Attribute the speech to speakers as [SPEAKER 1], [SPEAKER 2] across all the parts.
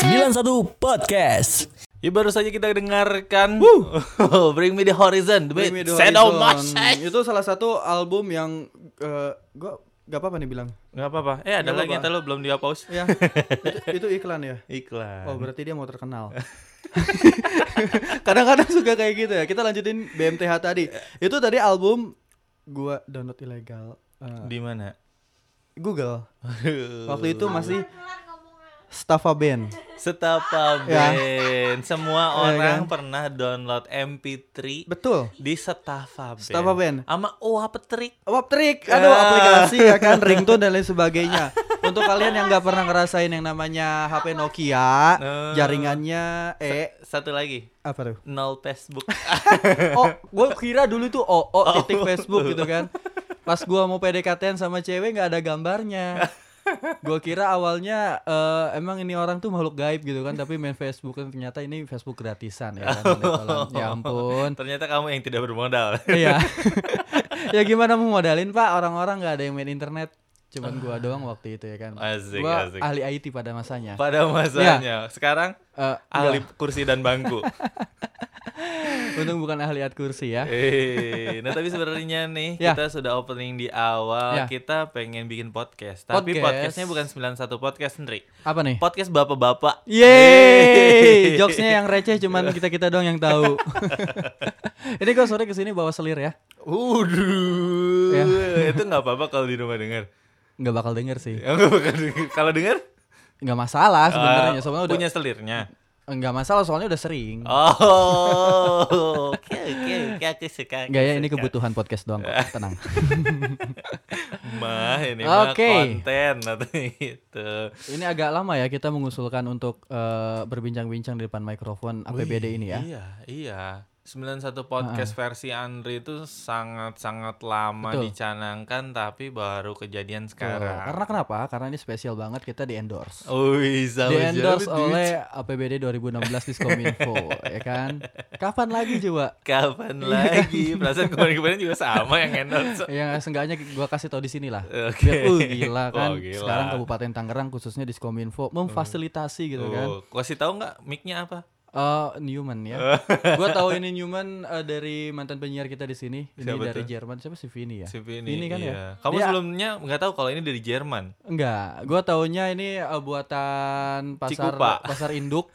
[SPEAKER 1] 1 Podcast.
[SPEAKER 2] Ya baru saja kita dengarkan Bring Me The Horizon, The
[SPEAKER 3] Bring Me The
[SPEAKER 2] Set
[SPEAKER 3] Horizon.
[SPEAKER 2] of Mosaic.
[SPEAKER 3] Itu salah satu album yang eh, gua gak apa-apa nih bilang.
[SPEAKER 2] Gak apa-apa. Eh ada
[SPEAKER 3] Nggak
[SPEAKER 2] lagi
[SPEAKER 3] apa-apa.
[SPEAKER 2] ntar lo belum dia pause.
[SPEAKER 3] Ya. itu, itu iklan ya.
[SPEAKER 2] Iklan.
[SPEAKER 3] Oh, berarti dia mau terkenal. Kadang-kadang suka kayak gitu ya. Kita lanjutin BMTH tadi. Itu tadi album gua download ilegal eh,
[SPEAKER 2] Di mana?
[SPEAKER 3] Google. Waktu itu masih Staffa Band.
[SPEAKER 2] Setapa
[SPEAKER 3] Ya. kan?
[SPEAKER 2] Band. Semua orang pernah download MP3
[SPEAKER 3] Betul.
[SPEAKER 2] di Setafa Band.
[SPEAKER 3] Setafa Band.
[SPEAKER 2] Sama Oa Petrik.
[SPEAKER 3] Waptrik, aduh
[SPEAKER 2] Ah.
[SPEAKER 3] aplikasi ya kan, ringtone dan lain sebagainya. Untuk kalian yang nggak pernah ngerasain yang namanya HP Nokia,
[SPEAKER 2] Eh.
[SPEAKER 3] jaringannya eh
[SPEAKER 2] Satu lagi.
[SPEAKER 3] apa tuh?
[SPEAKER 2] Nol Facebook.
[SPEAKER 3] Oh, gue kira dulu tuh oh, oh, titik Facebook gitu kan. Pas gua mau PDKT sama cewek nggak ada gambarnya. Gua kira awalnya eh, emang ini orang tuh makhluk gaib gitu kan, tapi main Facebook kan ternyata ini Facebook gratisan ya kan. Ya ampun.
[SPEAKER 2] Ternyata kamu yang tidak bermodal.
[SPEAKER 3] Iya. ya gimana mau modalin Pak? Orang-orang nggak ada yang main internet. Cuman gua doang waktu itu ya kan.
[SPEAKER 2] Ah. Asik,
[SPEAKER 3] gua Ya.
[SPEAKER 2] asik.
[SPEAKER 3] ahli IT pada masanya.
[SPEAKER 2] Pada masanya. Sekarang
[SPEAKER 3] Eh,
[SPEAKER 2] ahli kursi dan bangku.
[SPEAKER 3] nggak. untung bukan ahli at kursi ya.
[SPEAKER 2] Eh, nah tapi sebenarnya nih
[SPEAKER 3] Ya.
[SPEAKER 2] kita sudah opening di awal,
[SPEAKER 3] Ya.
[SPEAKER 2] kita pengen bikin podcast. Tapi
[SPEAKER 3] Podcast.
[SPEAKER 2] podcastnya bukan 91 podcast sendiri.
[SPEAKER 3] Apa nih?
[SPEAKER 2] Podcast bapak-bapak.
[SPEAKER 3] Yeay, jokesnya yang receh cuman kita-kita doang yang tahu. Ini gua sore kesini bawa selir ya.
[SPEAKER 2] Waduh.
[SPEAKER 3] Ya.
[SPEAKER 2] Itu nggak apa-apa kalau di rumah dengar.
[SPEAKER 3] nggak bakal denger sih.
[SPEAKER 2] Ya, nggak bakal denger. kalau dengar
[SPEAKER 3] nggak masalah sebenarnya.
[SPEAKER 2] eh,
[SPEAKER 3] Soalnya udah
[SPEAKER 2] punya selirnya.
[SPEAKER 3] nggak masalah soalnya udah sering.
[SPEAKER 2] Oh. Oke, oke, oke, aku suka. aku
[SPEAKER 3] Gak ya ini
[SPEAKER 2] suka.
[SPEAKER 3] kebutuhan podcast doang kok. Tenang.
[SPEAKER 2] Mah, ini mah
[SPEAKER 3] Oke.
[SPEAKER 2] konten atau gitu.
[SPEAKER 3] Ini agak lama ya kita mengusulkan untuk eh, berbincang-bincang di depan mikrofon APBD ini ya.
[SPEAKER 2] Iya, iya. 91 podcast versi Andri itu sangat-sangat lama
[SPEAKER 3] Betul.
[SPEAKER 2] dicanangkan tapi baru kejadian
[SPEAKER 3] Betul.
[SPEAKER 2] sekarang.
[SPEAKER 3] Karena kenapa? Karena ini spesial banget kita di endorse.
[SPEAKER 2] Wih,
[SPEAKER 3] Di
[SPEAKER 2] sama
[SPEAKER 3] endorse
[SPEAKER 2] jalan duit.
[SPEAKER 3] oleh APBD 2016 Diskominfo, ya kan? Kapan lagi coba?
[SPEAKER 2] kapan
[SPEAKER 3] Iya.
[SPEAKER 2] lagi? Perasaan kemarin-kemarin juga sama yang endorse.
[SPEAKER 3] Ya seenggaknya gua kasih tau di sini lah.
[SPEAKER 2] Oke.
[SPEAKER 3] Biar, uh, gila kan.
[SPEAKER 2] Oh, gila.
[SPEAKER 3] Sekarang Kabupaten Tangerang khususnya Diskominfo memfasilitasi gitu kan.
[SPEAKER 2] Tuh, kasih tahu nggak mic-nya apa?
[SPEAKER 3] Eh, Newman ya. gua tahu ini Newman eh, dari mantan penyiar kita di sini, ini
[SPEAKER 2] Siapa tuh?
[SPEAKER 3] dari Jerman. Siapa sih Vini ya?
[SPEAKER 2] Si Vini,
[SPEAKER 3] Vini kan
[SPEAKER 2] iya.
[SPEAKER 3] ya.
[SPEAKER 2] Kamu
[SPEAKER 3] Dia-
[SPEAKER 2] sebelumnya nggak tahu kalau ini dari Jerman.
[SPEAKER 3] Enggak, gua taunya ini eh, buatan pasar
[SPEAKER 2] Cikupa.
[SPEAKER 3] pasar induk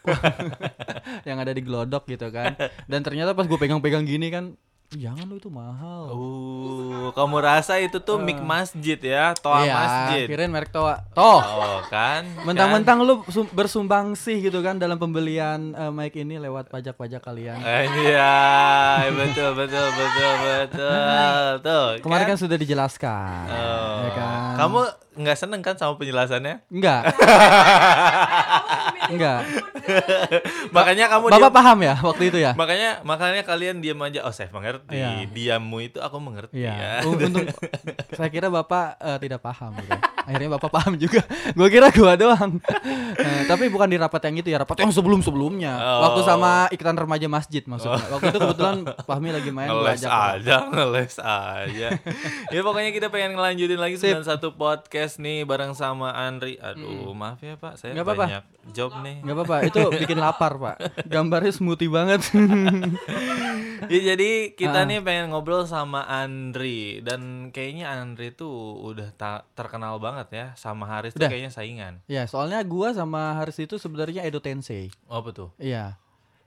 [SPEAKER 3] yang ada di Glodok gitu kan. Dan ternyata pas gue pegang-pegang gini kan, jangan lu itu mahal.
[SPEAKER 2] Uh, kamu rasa itu tuh
[SPEAKER 3] Eh.
[SPEAKER 2] mic masjid ya, toa masjid.
[SPEAKER 3] kirain Iya, merek toa. Toh,
[SPEAKER 2] Oh kan?
[SPEAKER 3] mentang-mentang lu sum- bersumbangsi gitu kan dalam pembelian eh, mic ini lewat pajak-pajak kalian.
[SPEAKER 2] Eh, Iya, betul betul betul betul. Tuh.
[SPEAKER 3] Kemarin
[SPEAKER 2] kan?
[SPEAKER 3] kan sudah dijelaskan,
[SPEAKER 2] Oh.
[SPEAKER 3] ya kan?
[SPEAKER 2] Kamu nggak seneng kan sama penjelasannya?
[SPEAKER 3] Enggak. Enggak.
[SPEAKER 2] makanya kamu
[SPEAKER 3] Bapak
[SPEAKER 2] diam-
[SPEAKER 3] paham ya waktu itu ya?
[SPEAKER 2] makanya makanya kalian diam aja. Oh, saya mengerti.
[SPEAKER 3] Iya.
[SPEAKER 2] Diammu itu aku mengerti
[SPEAKER 3] Iya.
[SPEAKER 2] ya.
[SPEAKER 3] Un- Untung saya kira Bapak eh, tidak paham gitu. Akhirnya Bapak paham juga. Gua kira gua doang. Eh, tapi bukan di rapat yang itu ya, rapat yang sebelum-sebelumnya.
[SPEAKER 2] Oh.
[SPEAKER 3] Waktu sama iklan remaja masjid maksudnya. Waktu itu kebetulan Fahmi lagi main gua
[SPEAKER 2] Ngeles
[SPEAKER 3] ajak.
[SPEAKER 2] aja, ngeles aja. ya pokoknya kita pengen ngelanjutin lagi 91 podcast nih bareng sama Andri. Aduh, maaf ya Pak, saya
[SPEAKER 3] Hmm. Nggak apa-apa.
[SPEAKER 2] banyak job nih.
[SPEAKER 3] Gak apa-apa, itu bikin lapar, Pak. Gambarnya smoothie banget.
[SPEAKER 2] Ya, jadi kita nih pengen ngobrol sama Andri dan kayaknya Andri tuh udah ta- terkenal banget ya sama Haris tuh
[SPEAKER 3] Udah.
[SPEAKER 2] kayaknya saingan.
[SPEAKER 3] ya, soalnya gua sama Haris itu sebenarnya Edo Tensei.
[SPEAKER 2] Oh betul.
[SPEAKER 3] Iya.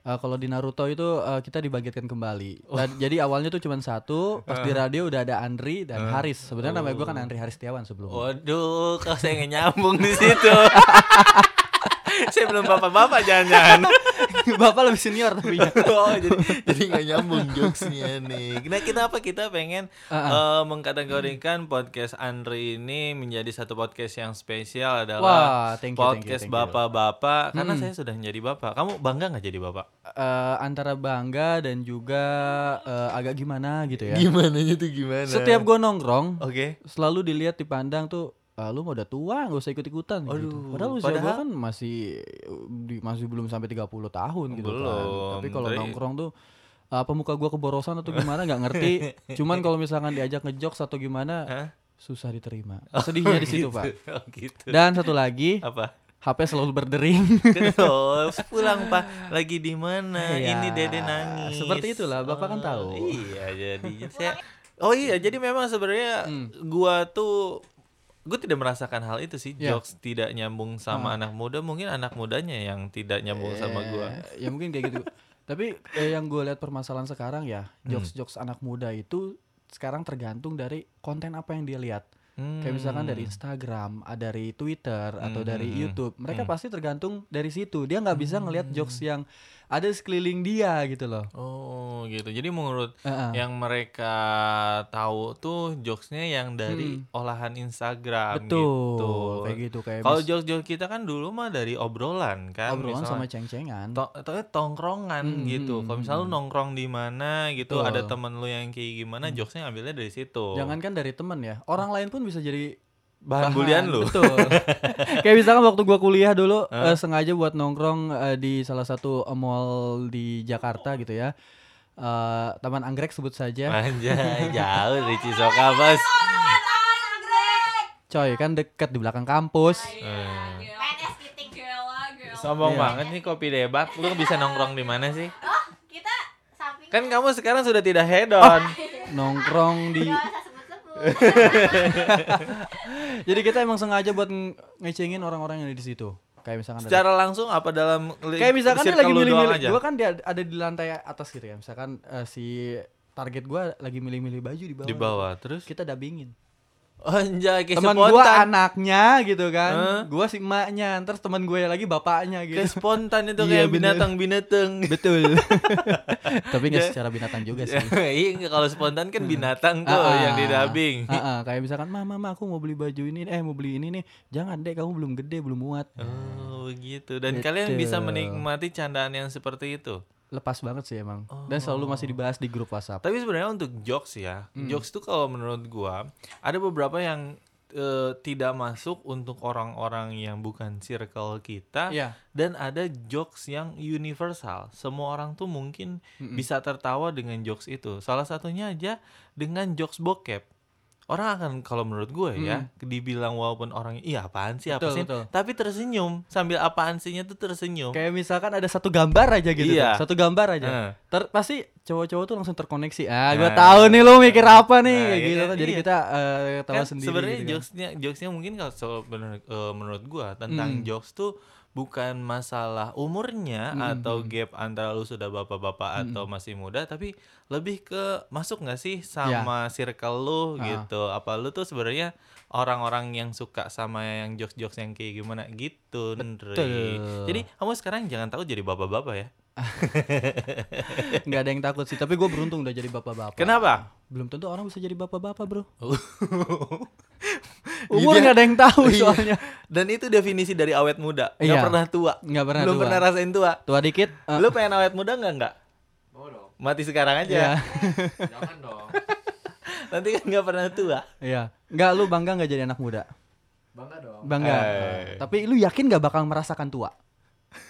[SPEAKER 3] Eh, kalau di Naruto itu eh, kita dibagikan kembali. Dan- Jadi awalnya tuh cuma satu, pas di radio udah ada Andri dan Haris. Sebenarnya namanya gue kan Andri Haris Tiawan sebelumnya.
[SPEAKER 2] Waduh, kalau saya nggak nyambung di situ. saya belum bapak-bapak jangan-jangan.
[SPEAKER 3] Bapak lebih senior tapi ya.
[SPEAKER 2] oh, jadi jadi nggak nyambung jokesnya nih. Nah, kenapa kita pengen eh, mengkategorikan podcast Andri ini menjadi satu podcast yang spesial adalah
[SPEAKER 3] Wah, thank you, thank you,
[SPEAKER 2] podcast
[SPEAKER 3] thank you. Hmm.
[SPEAKER 2] bapak-bapak karena saya sudah menjadi bapak. Kamu bangga nggak jadi bapak?
[SPEAKER 3] Eh, antara bangga dan juga eh, agak gimana gitu ya.
[SPEAKER 2] Gimana itu gimana?
[SPEAKER 3] Setiap gue nongkrong,
[SPEAKER 2] Oke.
[SPEAKER 3] selalu dilihat dipandang tuh "Ah, lu mau udah tua nggak usah ikut ikutan gitu.
[SPEAKER 2] Aduh,
[SPEAKER 3] Padahal usia gue
[SPEAKER 2] padahal-
[SPEAKER 3] kan masih di- masih belum sampai 30 tahun gitu kan.
[SPEAKER 2] Belum,
[SPEAKER 3] Tapi kalau
[SPEAKER 2] tapi-
[SPEAKER 3] nongkrong tuh apa muka gua keborosan atau gimana nggak ngerti. Cuman kalau misalkan diajak ngejok atau gimana
[SPEAKER 2] Hah?
[SPEAKER 3] susah diterima. Sedihnya di situ, Pak.
[SPEAKER 2] Oh, gitu.
[SPEAKER 3] Dan satu lagi
[SPEAKER 2] Apa?
[SPEAKER 3] HP selalu berdering.
[SPEAKER 2] Terus pulang pak, lagi di mana?
[SPEAKER 3] Iya.
[SPEAKER 2] Ini dede nangis.
[SPEAKER 3] Seperti itulah, Bapak kan
[SPEAKER 2] Oh,
[SPEAKER 3] tahu.
[SPEAKER 2] Iya, jadinya saya. Oh iya, jadi memang sebenarnya
[SPEAKER 3] Hmm.
[SPEAKER 2] gua tuh gue tidak merasakan hal itu sih
[SPEAKER 3] Iya. Ah.
[SPEAKER 2] jokes tidak nyambung sama anak muda mungkin anak mudanya yang tidak nyambung sama gua
[SPEAKER 3] Eh, ya mungkin kayak gitu. Tapi eh, yang gue lihat permasalahan sekarang ya,
[SPEAKER 2] Hmm.
[SPEAKER 3] jokes-jokes anak muda itu sekarang tergantung dari konten apa yang dia lihat.
[SPEAKER 2] Hmm.
[SPEAKER 3] Kayak misalkan dari Instagram, ah, dari Twitter atau dari
[SPEAKER 2] Hmm.
[SPEAKER 3] YouTube, mereka pasti tergantung dari situ. Dia nggak bisa ngelihat
[SPEAKER 2] Hmm.
[SPEAKER 3] jokes yang ada di sekeliling dia gitu loh.
[SPEAKER 2] oh gitu jadi menurut
[SPEAKER 3] Heeh.
[SPEAKER 2] yang mereka tahu tuh jokesnya yang dari olahan Instagram
[SPEAKER 3] Hmm. Betul,
[SPEAKER 2] gitu
[SPEAKER 3] kayak gitu kayak
[SPEAKER 2] kalau
[SPEAKER 3] mis-
[SPEAKER 2] jokes-jokes kita kan dulu mah dari obrolan kan
[SPEAKER 3] obrolan
[SPEAKER 2] misalnya.
[SPEAKER 3] sama Hmm, ceng-cengan.
[SPEAKER 2] to to- tongkrongan gitu. Kalau misalnya lu nongkrong di mana gitu,
[SPEAKER 3] Betul. Hmm.
[SPEAKER 2] ada temen lu yang kayak gimana, jokesnya ngambilnya dari situ.
[SPEAKER 3] Jangankan dari temen ya, orang lain pun bisa jadi
[SPEAKER 2] Bahan bulian lu.
[SPEAKER 3] Betul. Kayak misalkan waktu gua kuliah dulu eh, sengaja buat nongkrong eh, di salah satu eh, mall di Jakarta gitu ya. Eh, Taman Anggrek sebut saja.
[SPEAKER 2] Anjay, jauh dari Cisoka, Bos.
[SPEAKER 3] Coy, kan deket di belakang kampus.
[SPEAKER 1] PNS titik gewa, gewa.
[SPEAKER 2] Sombong
[SPEAKER 3] Iya.
[SPEAKER 2] banget nih kopi debak. Lu bisa nongkrong di mana sih?
[SPEAKER 1] Oh, kita samping.
[SPEAKER 2] Kan kamu sekarang sudah tidak
[SPEAKER 3] Oh, iya,
[SPEAKER 2] hedon.
[SPEAKER 3] Nongkrong di
[SPEAKER 1] Gak usah sebut-sebut.
[SPEAKER 3] Jadi kita emang sengaja buat nge- ngecengin orang-orang yang ada di situ. Kayak misalkan ada-
[SPEAKER 2] Secara langsung apa dalam li-
[SPEAKER 3] Kayak misalkan dia
[SPEAKER 2] circle
[SPEAKER 3] lagi
[SPEAKER 2] lu doang
[SPEAKER 3] milih-milih.
[SPEAKER 2] aja?
[SPEAKER 3] Gua kan dia ada di lantai atas gitu ya. Misalkan eh, si target gua lagi milih-milih baju di bawah.
[SPEAKER 2] di bawah terus. ah,
[SPEAKER 3] Kita dabingin.
[SPEAKER 2] Anjay, kayak
[SPEAKER 3] teman
[SPEAKER 2] spontan.
[SPEAKER 3] gue anaknya gitu kan
[SPEAKER 2] Heeh.
[SPEAKER 3] gue si emaknya terus teman gue lagi bapaknya gitu
[SPEAKER 2] Kayak spontan itu
[SPEAKER 3] Iya,
[SPEAKER 2] kayak
[SPEAKER 3] bener.
[SPEAKER 2] binatang-binatang.
[SPEAKER 3] betul tapi nggak
[SPEAKER 2] Ya.
[SPEAKER 3] secara binatang juga gitu sih
[SPEAKER 2] Iya, kalau spontan kan binatang tuh
[SPEAKER 3] Ah,
[SPEAKER 2] yang
[SPEAKER 3] ah.
[SPEAKER 2] didabing.
[SPEAKER 3] Ah, ah. kayak misalkan mama mama aku mau beli baju ini eh mau beli ini nih jangan deh kamu belum gede belum muat
[SPEAKER 2] Oh begitu. Dan
[SPEAKER 3] Gitu.
[SPEAKER 2] kalian bisa menikmati candaan yang seperti itu.
[SPEAKER 3] lepas banget sih emang
[SPEAKER 2] Oh.
[SPEAKER 3] dan selalu masih dibahas di grup WhatsApp
[SPEAKER 2] Tapi sebenarnya untuk jokes ya,
[SPEAKER 3] Hmm.
[SPEAKER 2] jokes tuh kalau menurut gua ada beberapa yang eh, tidak masuk untuk orang-orang yang bukan circle kita
[SPEAKER 3] Iya.
[SPEAKER 2] dan ada jokes yang universal. Semua orang tuh mungkin bisa tertawa dengan jokes itu. Salah satunya aja dengan jokes bokep. Orang akan kalau menurut gue ya dibilang walaupun orang iya apaan sih apa
[SPEAKER 3] Betul,
[SPEAKER 2] sih
[SPEAKER 3] betul.
[SPEAKER 2] tapi tersenyum sambil apaan sihnya tuh tersenyum.
[SPEAKER 3] kayak misalkan ada satu gambar aja gitu
[SPEAKER 2] Iya.
[SPEAKER 3] tuh, satu gambar aja
[SPEAKER 2] Heeh.
[SPEAKER 3] Ter- pasti cowok-cowok tuh langsung terkoneksi ah gue
[SPEAKER 2] Nah.
[SPEAKER 3] tahu nih lo mikir apa nih
[SPEAKER 2] Nah,
[SPEAKER 3] kayak
[SPEAKER 2] iya
[SPEAKER 3] gitu
[SPEAKER 2] kan,
[SPEAKER 3] kan. jadi
[SPEAKER 2] iya.
[SPEAKER 3] kita eh, tahu
[SPEAKER 2] kan
[SPEAKER 3] sendiri
[SPEAKER 2] sebenarnya
[SPEAKER 3] gitu kan.
[SPEAKER 2] jokesnya jokesnya mungkin kalau so- menurut, eh, menurut gua
[SPEAKER 3] Hmm.
[SPEAKER 2] tentang jokes tuh bukan masalah umurnya
[SPEAKER 3] Hmm,
[SPEAKER 2] atau gap antara lu sudah bapak-bapak atau masih muda tapi lebih ke masuk nggak
[SPEAKER 3] Iya.
[SPEAKER 2] sih sama circle lu
[SPEAKER 3] Ah.
[SPEAKER 2] gitu apa lu tuh sebenarnya orang-orang yang suka sama yang jokes-jokes yang kayak gimana gitu Nri.
[SPEAKER 3] Betul.
[SPEAKER 2] jadi kamu sekarang jangan tahu jadi bapak-bapak ya
[SPEAKER 3] kan. nggak ada yang takut sih tapi gue beruntung udah jadi bapak-bapak
[SPEAKER 2] kenapa
[SPEAKER 3] belum tentu orang bisa jadi bapak-bapak bro
[SPEAKER 2] Umur
[SPEAKER 3] umur nggak ada yang tahu
[SPEAKER 2] Oh. Iya.
[SPEAKER 3] soalnya
[SPEAKER 2] dan itu definisi dari awet muda nggak
[SPEAKER 3] Iya.
[SPEAKER 2] pernah tua
[SPEAKER 3] Nggak pernah
[SPEAKER 2] belum
[SPEAKER 3] tua.
[SPEAKER 2] pernah rasain tua
[SPEAKER 3] tua dikit eh,
[SPEAKER 2] Lu pengen awet muda nggak nggak? Mati sekarang aja.
[SPEAKER 3] ya
[SPEAKER 2] Nanti kan nggak pernah tua.
[SPEAKER 3] ya nggak lu bangga nggak jadi anak muda
[SPEAKER 4] Bangga dong.
[SPEAKER 3] bangga
[SPEAKER 2] Eh.
[SPEAKER 3] Eh, tapi lu yakin nggak bakal merasakan tua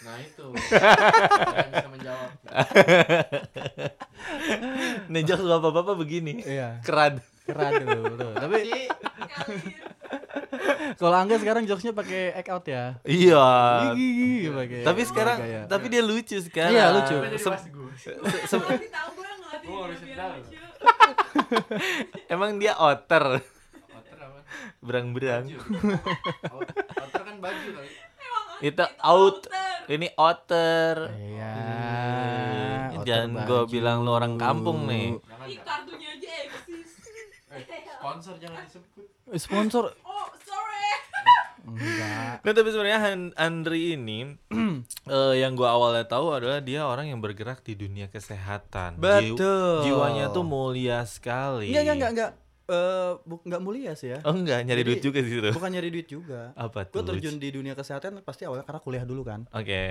[SPEAKER 4] Nah itu. Saya bisa menjawab.
[SPEAKER 2] Nih jokes bapak-bapak begini.
[SPEAKER 3] Iya.
[SPEAKER 2] Kerad.
[SPEAKER 3] keren tuh, betul. tapi kalau angga sekarang jokesnya pakai act out ya
[SPEAKER 2] Iya.
[SPEAKER 3] gigi pakai ya.
[SPEAKER 2] Tapi sekarang,
[SPEAKER 3] gaya.
[SPEAKER 2] tapi dia lucu sekarang.
[SPEAKER 3] Iya, lucu.
[SPEAKER 4] Kenapa jadi
[SPEAKER 2] Sem-
[SPEAKER 4] bahas gue?
[SPEAKER 2] se- se-
[SPEAKER 1] Kasih tahu gue ngelatih
[SPEAKER 4] Gue
[SPEAKER 1] dia
[SPEAKER 4] harus
[SPEAKER 1] biar
[SPEAKER 4] tahu.
[SPEAKER 1] lucu.
[SPEAKER 2] emang dia otter,
[SPEAKER 4] Outer apa?
[SPEAKER 2] berang-berang.
[SPEAKER 4] Baju. Out- Outer kan baju kali.
[SPEAKER 2] Itu out. Ini otter.
[SPEAKER 3] iya
[SPEAKER 2] Hmm, Jangan gue bilang lu orang kampung nih.
[SPEAKER 4] Jangan
[SPEAKER 1] Ih,
[SPEAKER 4] jangan.
[SPEAKER 1] kartunya aja
[SPEAKER 5] ya,
[SPEAKER 1] eksis.
[SPEAKER 4] Eh, sponsor jangan disebut.
[SPEAKER 3] Eh, sponsor
[SPEAKER 1] Oh, sorry.
[SPEAKER 3] enggak
[SPEAKER 2] Nah, tapi sebenarnya Han- Andri ini eh, yang gua awalnya tahu adalah dia orang yang bergerak di dunia kesehatan. Jiw-
[SPEAKER 3] Betul.
[SPEAKER 2] jiwanya tuh mulia sekali.
[SPEAKER 3] Enggak, enggak, enggak, enggak. Eh, bu- enggak mulia sih ya.
[SPEAKER 2] Oh enggak, nyari
[SPEAKER 3] Jadi,
[SPEAKER 2] duit juga sih itu.
[SPEAKER 3] Bukan nyari duit juga.
[SPEAKER 2] Apa
[SPEAKER 3] Gue
[SPEAKER 2] tuh? Eh.
[SPEAKER 3] terjun
[SPEAKER 2] Oke.
[SPEAKER 3] di dunia kesehatan pasti awalnya karena kuliah dulu kan.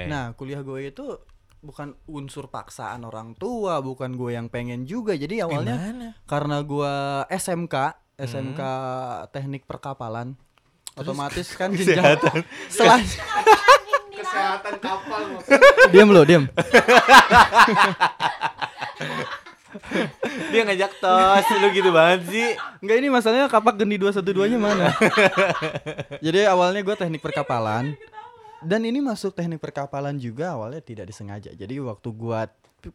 [SPEAKER 3] Nah, kuliah gue itu bukan unsur paksaan orang tua, bukan gue yang pengen juga. Jadi awalnya
[SPEAKER 2] Gimana?
[SPEAKER 3] karena gue SMK, SMK
[SPEAKER 2] Hmm.
[SPEAKER 3] Teknik Perkapalan. Otomatis kan jenjang setelah
[SPEAKER 4] Kesehatan kapal mau.
[SPEAKER 3] diam lo diam
[SPEAKER 2] Dia ngajak tos, lu gitu banget sih.
[SPEAKER 3] Enggak ini masalahnya kapak geni 212 nya mana jadi awalnya gue teknik perkapalan Dan ini masuk teknik perkapalan juga awalnya tidak disengaja. Jadi waktu gua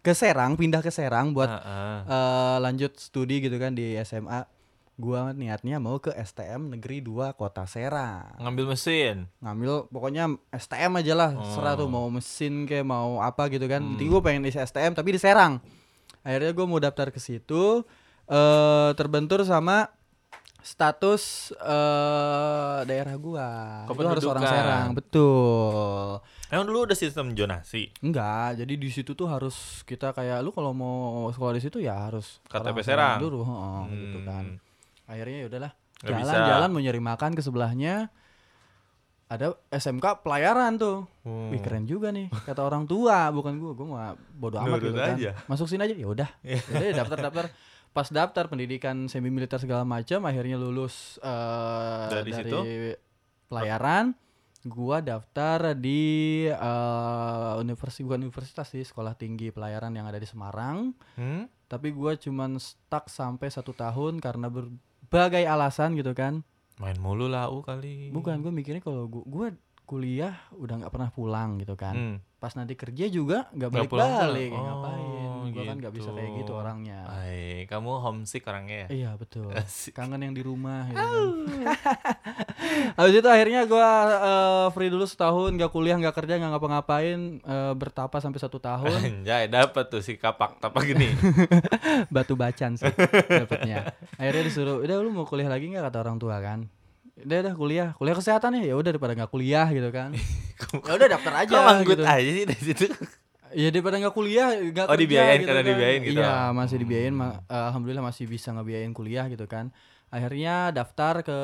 [SPEAKER 3] ke Serang, pindah ke Serang buat
[SPEAKER 2] Heeh.
[SPEAKER 3] eh, lanjut studi gitu kan di SMA, gua niatnya mau ke STM Negeri 2 Kota Serang.
[SPEAKER 2] ngambil mesin
[SPEAKER 3] Ngambil pokoknya STM aja lah, serah tuh mau mesin kayak mau apa gitu kan. Penting gua pengen isi STM tapi di Serang. Akhirnya gua mau daftar ke situ eh terbentur sama status eh daerah gua. Itu harus
[SPEAKER 2] Kependudukan.
[SPEAKER 3] orang Serang, betul.
[SPEAKER 2] emang dulu udah sistem jonasi
[SPEAKER 3] Enggak, jadi di situ tuh harus kita kayak lu kalau mau sekolah di situ ya harus
[SPEAKER 2] KTP
[SPEAKER 3] orang
[SPEAKER 2] Serang.
[SPEAKER 3] dulu, heeh, gitu
[SPEAKER 2] Hmm.
[SPEAKER 3] kan. Akhirnya ya udahlah.
[SPEAKER 2] Nggak bisa.
[SPEAKER 3] Jalan-jalan mau nyari makan ke sebelahnya ada SMK pelayaran tuh.
[SPEAKER 2] Hmm.
[SPEAKER 3] Wih keren juga nih kata orang tua bukan gua, gua mah bodo amat
[SPEAKER 2] Nurut
[SPEAKER 3] gitu kan.
[SPEAKER 2] aja. Iya.
[SPEAKER 3] Masuk sini aja ya udah. Jadi daftar-daftar pas daftar pendidikan semi militer segala macam akhirnya lulus eh,
[SPEAKER 2] Dari situ?
[SPEAKER 3] pelayaran gua daftar di universitas bukan universitas sih sekolah tinggi pelayaran yang ada di Semarang
[SPEAKER 2] Hmm?
[SPEAKER 3] tapi gua cuman stuck sampai satu tahun karena berbagai alasan gitu kan
[SPEAKER 2] main mulu lau kali
[SPEAKER 3] bukan gue mikirnya kalau gua, gua kuliah udah nggak pernah pulang gitu kan
[SPEAKER 2] Hmm.
[SPEAKER 3] pas nanti kerja juga nggak
[SPEAKER 2] Nggak
[SPEAKER 3] balik
[SPEAKER 2] pulang-pulang.
[SPEAKER 3] balik ngapain
[SPEAKER 2] Oh,
[SPEAKER 3] gua kan nggak bisa kayak gitu
[SPEAKER 2] gitu.
[SPEAKER 3] orangnya
[SPEAKER 2] Ay, kamu homesick orangnya ya
[SPEAKER 3] iya betul
[SPEAKER 2] Asik.
[SPEAKER 3] kangen yang di rumah gitu kan. Habis itu akhirnya gua eh, free dulu setahun nggak kuliah nggak kerja nggak ngapa-ngapain eh, bertapa sampai satu tahun
[SPEAKER 2] Anjay, dapat tuh si kapak tapak gini.
[SPEAKER 3] batu bacan sih dapetnya akhirnya disuruh udah lu mau kuliah lagi nggak kata orang tua kan udah udah kuliah kuliah kesehatan ya ya udah daripada nggak kuliah gitu kan ya udah daftar aja
[SPEAKER 2] Kok manggut
[SPEAKER 3] gitu.
[SPEAKER 2] aja sih dari situ?
[SPEAKER 3] ya daripada nggak kuliah nggak
[SPEAKER 2] Oh,
[SPEAKER 3] kerja
[SPEAKER 2] dibiayain,
[SPEAKER 3] gitu
[SPEAKER 2] karena
[SPEAKER 3] kan.
[SPEAKER 2] dibiayain gitu.
[SPEAKER 3] iya masih dibiayain ma- eh, alhamdulillah masih bisa ngebiayain kuliah gitu kan akhirnya daftar ke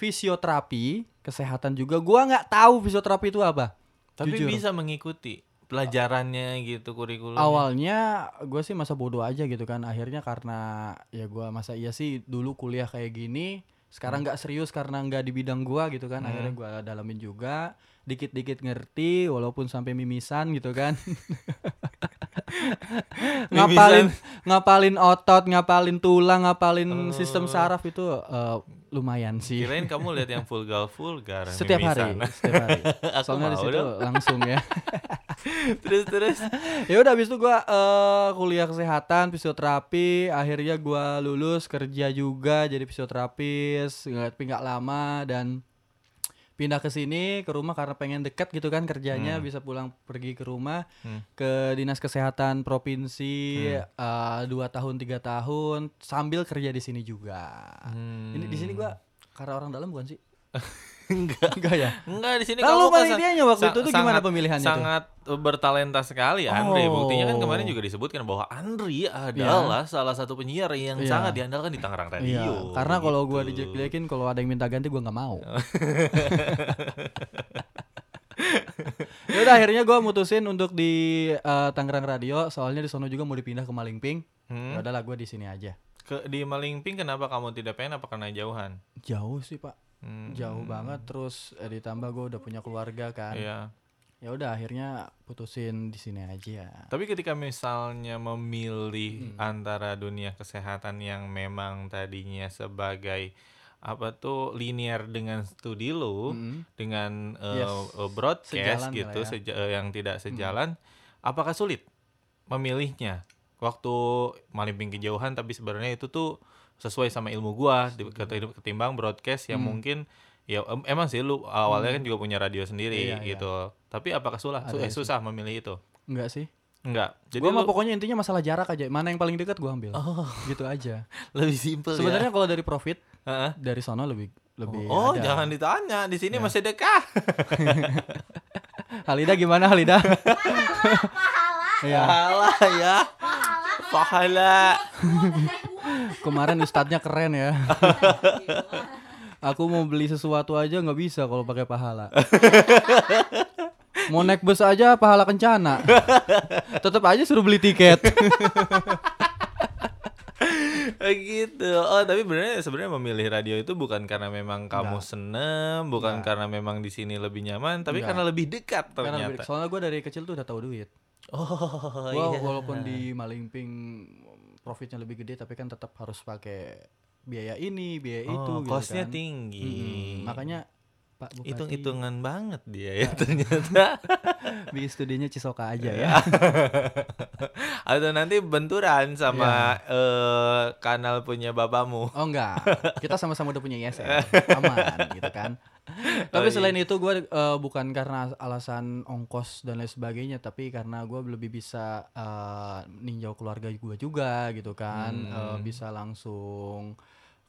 [SPEAKER 3] fisioterapi kesehatan juga gua nggak tahu fisioterapi itu apa
[SPEAKER 2] Tapi
[SPEAKER 3] Jujur.
[SPEAKER 2] bisa mengikuti pelajarannya gitu kurikulum.
[SPEAKER 3] Awalnya gue sih masa bodoh aja gitu kan. Akhirnya karena ya gua masa iya sih dulu kuliah kayak gini. Sekarang
[SPEAKER 2] Hmm.
[SPEAKER 3] nggak serius karena nggak di bidang gua gitu kan. Akhirnya gua dalamin juga. Dikit-dikit ngerti walaupun sampai mimisan gitu kan. ngapalin ngapalin otot, ngapalin tulang, ngapalin sistem
[SPEAKER 2] Oh.
[SPEAKER 3] saraf itu eh, lumayan sih.
[SPEAKER 2] Kirain kamu lihat yang vulgar vulgar.
[SPEAKER 3] Setiap hari,
[SPEAKER 2] mimisan.
[SPEAKER 3] setiap hari.
[SPEAKER 2] Aku
[SPEAKER 3] Soalnya di
[SPEAKER 2] mau
[SPEAKER 3] situ
[SPEAKER 2] dong.
[SPEAKER 3] langsung ya.
[SPEAKER 2] terus terus.
[SPEAKER 3] ya udah abis itu gua eh, kuliah kesehatan fisioterapi akhirnya gua lulus kerja juga jadi fisioterapis nggak- tapi nggak lama dan pindah ke sini ke rumah karena pengen dekat gitu kan kerjanya bisa pulang pergi ke rumah
[SPEAKER 2] Hmm.
[SPEAKER 3] ke dinas kesehatan provinsi eh, dua tahun tiga tahun sambil kerja di sini juga
[SPEAKER 2] Hmm.
[SPEAKER 3] ini di sini gua karena orang dalam bukan sih enggak enggak ya
[SPEAKER 2] Enggak di sini kamu
[SPEAKER 3] Lalu
[SPEAKER 2] kan
[SPEAKER 3] panitianya waktu itu tuh gimana
[SPEAKER 2] sangat-
[SPEAKER 3] pemilihannya tuh?
[SPEAKER 2] Sangat bertalenta sekali Andri.
[SPEAKER 3] Oh.
[SPEAKER 2] Buktinya kan kemarin juga disebutkan bahwa Andri adalah salah satu penyiar yang
[SPEAKER 3] Iya.
[SPEAKER 2] sangat diandalkan di Tangerang Radio.
[SPEAKER 3] Iya, karena kalau gua
[SPEAKER 2] gitu.
[SPEAKER 3] dijelek-jelekin kalau ada yang minta ganti gua nggak mau. ya udah akhirnya gua mutusin untuk di eh, Tangerang Radio, soalnya di sono juga mau dipindah ke Malingping.
[SPEAKER 2] Hmm.
[SPEAKER 3] Ya udahlah gua di sini aja.
[SPEAKER 2] Ke, di Malingping kenapa kamu tidak pengen apa karena jauhan?
[SPEAKER 3] Jauh sih, Pak.
[SPEAKER 2] Hmm,
[SPEAKER 3] Jauh banget terus eh, ditambah gua udah punya keluarga kan.
[SPEAKER 2] Iya.
[SPEAKER 3] Ya udah akhirnya putusin di sini aja.
[SPEAKER 2] Tapi ketika misalnya memilih
[SPEAKER 3] Hmm.
[SPEAKER 2] antara dunia kesehatan yang memang tadinya sebagai apa tuh linear dengan studi lo,
[SPEAKER 3] Mm.
[SPEAKER 2] dengan eh,
[SPEAKER 3] Yes.
[SPEAKER 2] eh, broadcast
[SPEAKER 3] Sejalan
[SPEAKER 2] gitu
[SPEAKER 3] lah ya.
[SPEAKER 2] seja- eh, yang tidak sejalan, apakah sulit memilihnya? Waktu malimping kejauhan tapi sebenarnya itu tuh sesuai sama ilmu gua
[SPEAKER 3] Hmm.
[SPEAKER 2] di- keti- ketimbang broadcast yang mungkin ya em- emang sih lu awalnya kan juga punya radio sendiri
[SPEAKER 3] Hmm. Iya, iya.
[SPEAKER 2] gitu. Tapi apakah sulah, su- eh,
[SPEAKER 3] Ada sih.
[SPEAKER 2] susah memilih itu?
[SPEAKER 3] Enggak sih.
[SPEAKER 2] Enggak. Jadi
[SPEAKER 3] gua mah
[SPEAKER 2] lu
[SPEAKER 3] pokoknya intinya masalah jarak aja. Mana yang paling dekat gua ambil. Gitu aja.
[SPEAKER 2] lebih simpel ya.
[SPEAKER 3] Sebenarnya kalau dari profit
[SPEAKER 2] Heeh.
[SPEAKER 3] dari sono lebih lebih
[SPEAKER 2] Oh,
[SPEAKER 3] ada. Iya.
[SPEAKER 2] jangan ditanya. Di sini masih dekat.
[SPEAKER 3] Halida gimana Halida?
[SPEAKER 1] Pahala,
[SPEAKER 3] Iya,
[SPEAKER 2] Pahala ya.
[SPEAKER 1] pahala.
[SPEAKER 2] Pahala.
[SPEAKER 3] kemarin ustadznya keren ya. Aku mau beli sesuatu aja nggak bisa kalau pakai pahala. Mau naik bus aja pahala kencana. Tetap aja suruh beli tiket.
[SPEAKER 2] gitu oh tapi sebenarnya sebenarnya memilih radio itu bukan karena memang kamu seneng bukan karena memang di sini lebih nyaman tapi
[SPEAKER 3] Enggak.
[SPEAKER 2] karena lebih dekat
[SPEAKER 3] Karena
[SPEAKER 2] ternyata
[SPEAKER 3] soalnya gue dari kecil tuh udah tahu duit.
[SPEAKER 2] oh iya.
[SPEAKER 3] Gua walaupun di Malingping profitnya lebih gede tapi kan tetap harus pakai biaya ini, biaya
[SPEAKER 2] Oh,
[SPEAKER 3] itu gitu
[SPEAKER 2] costnya
[SPEAKER 3] kan.
[SPEAKER 2] tinggi
[SPEAKER 3] Mm-mm. Makanya Pak Bupati.
[SPEAKER 2] Hitung-hitungan banget dia ya ternyata.
[SPEAKER 3] Bikin studinya Cisoka aja ya.
[SPEAKER 2] Atau nanti benturan sama eh, kanal punya bapamu.
[SPEAKER 3] Oh enggak, kita sama-sama udah punya ISN, aman gitu kan. Tapi
[SPEAKER 2] Oh, iya.
[SPEAKER 3] selain itu gue bukan karena alasan ongkos dan lain sebagainya, tapi karena gue lebih bisa eh, ninjau keluarga gue juga gitu kan,
[SPEAKER 2] Hmm.
[SPEAKER 3] Eh, bisa langsung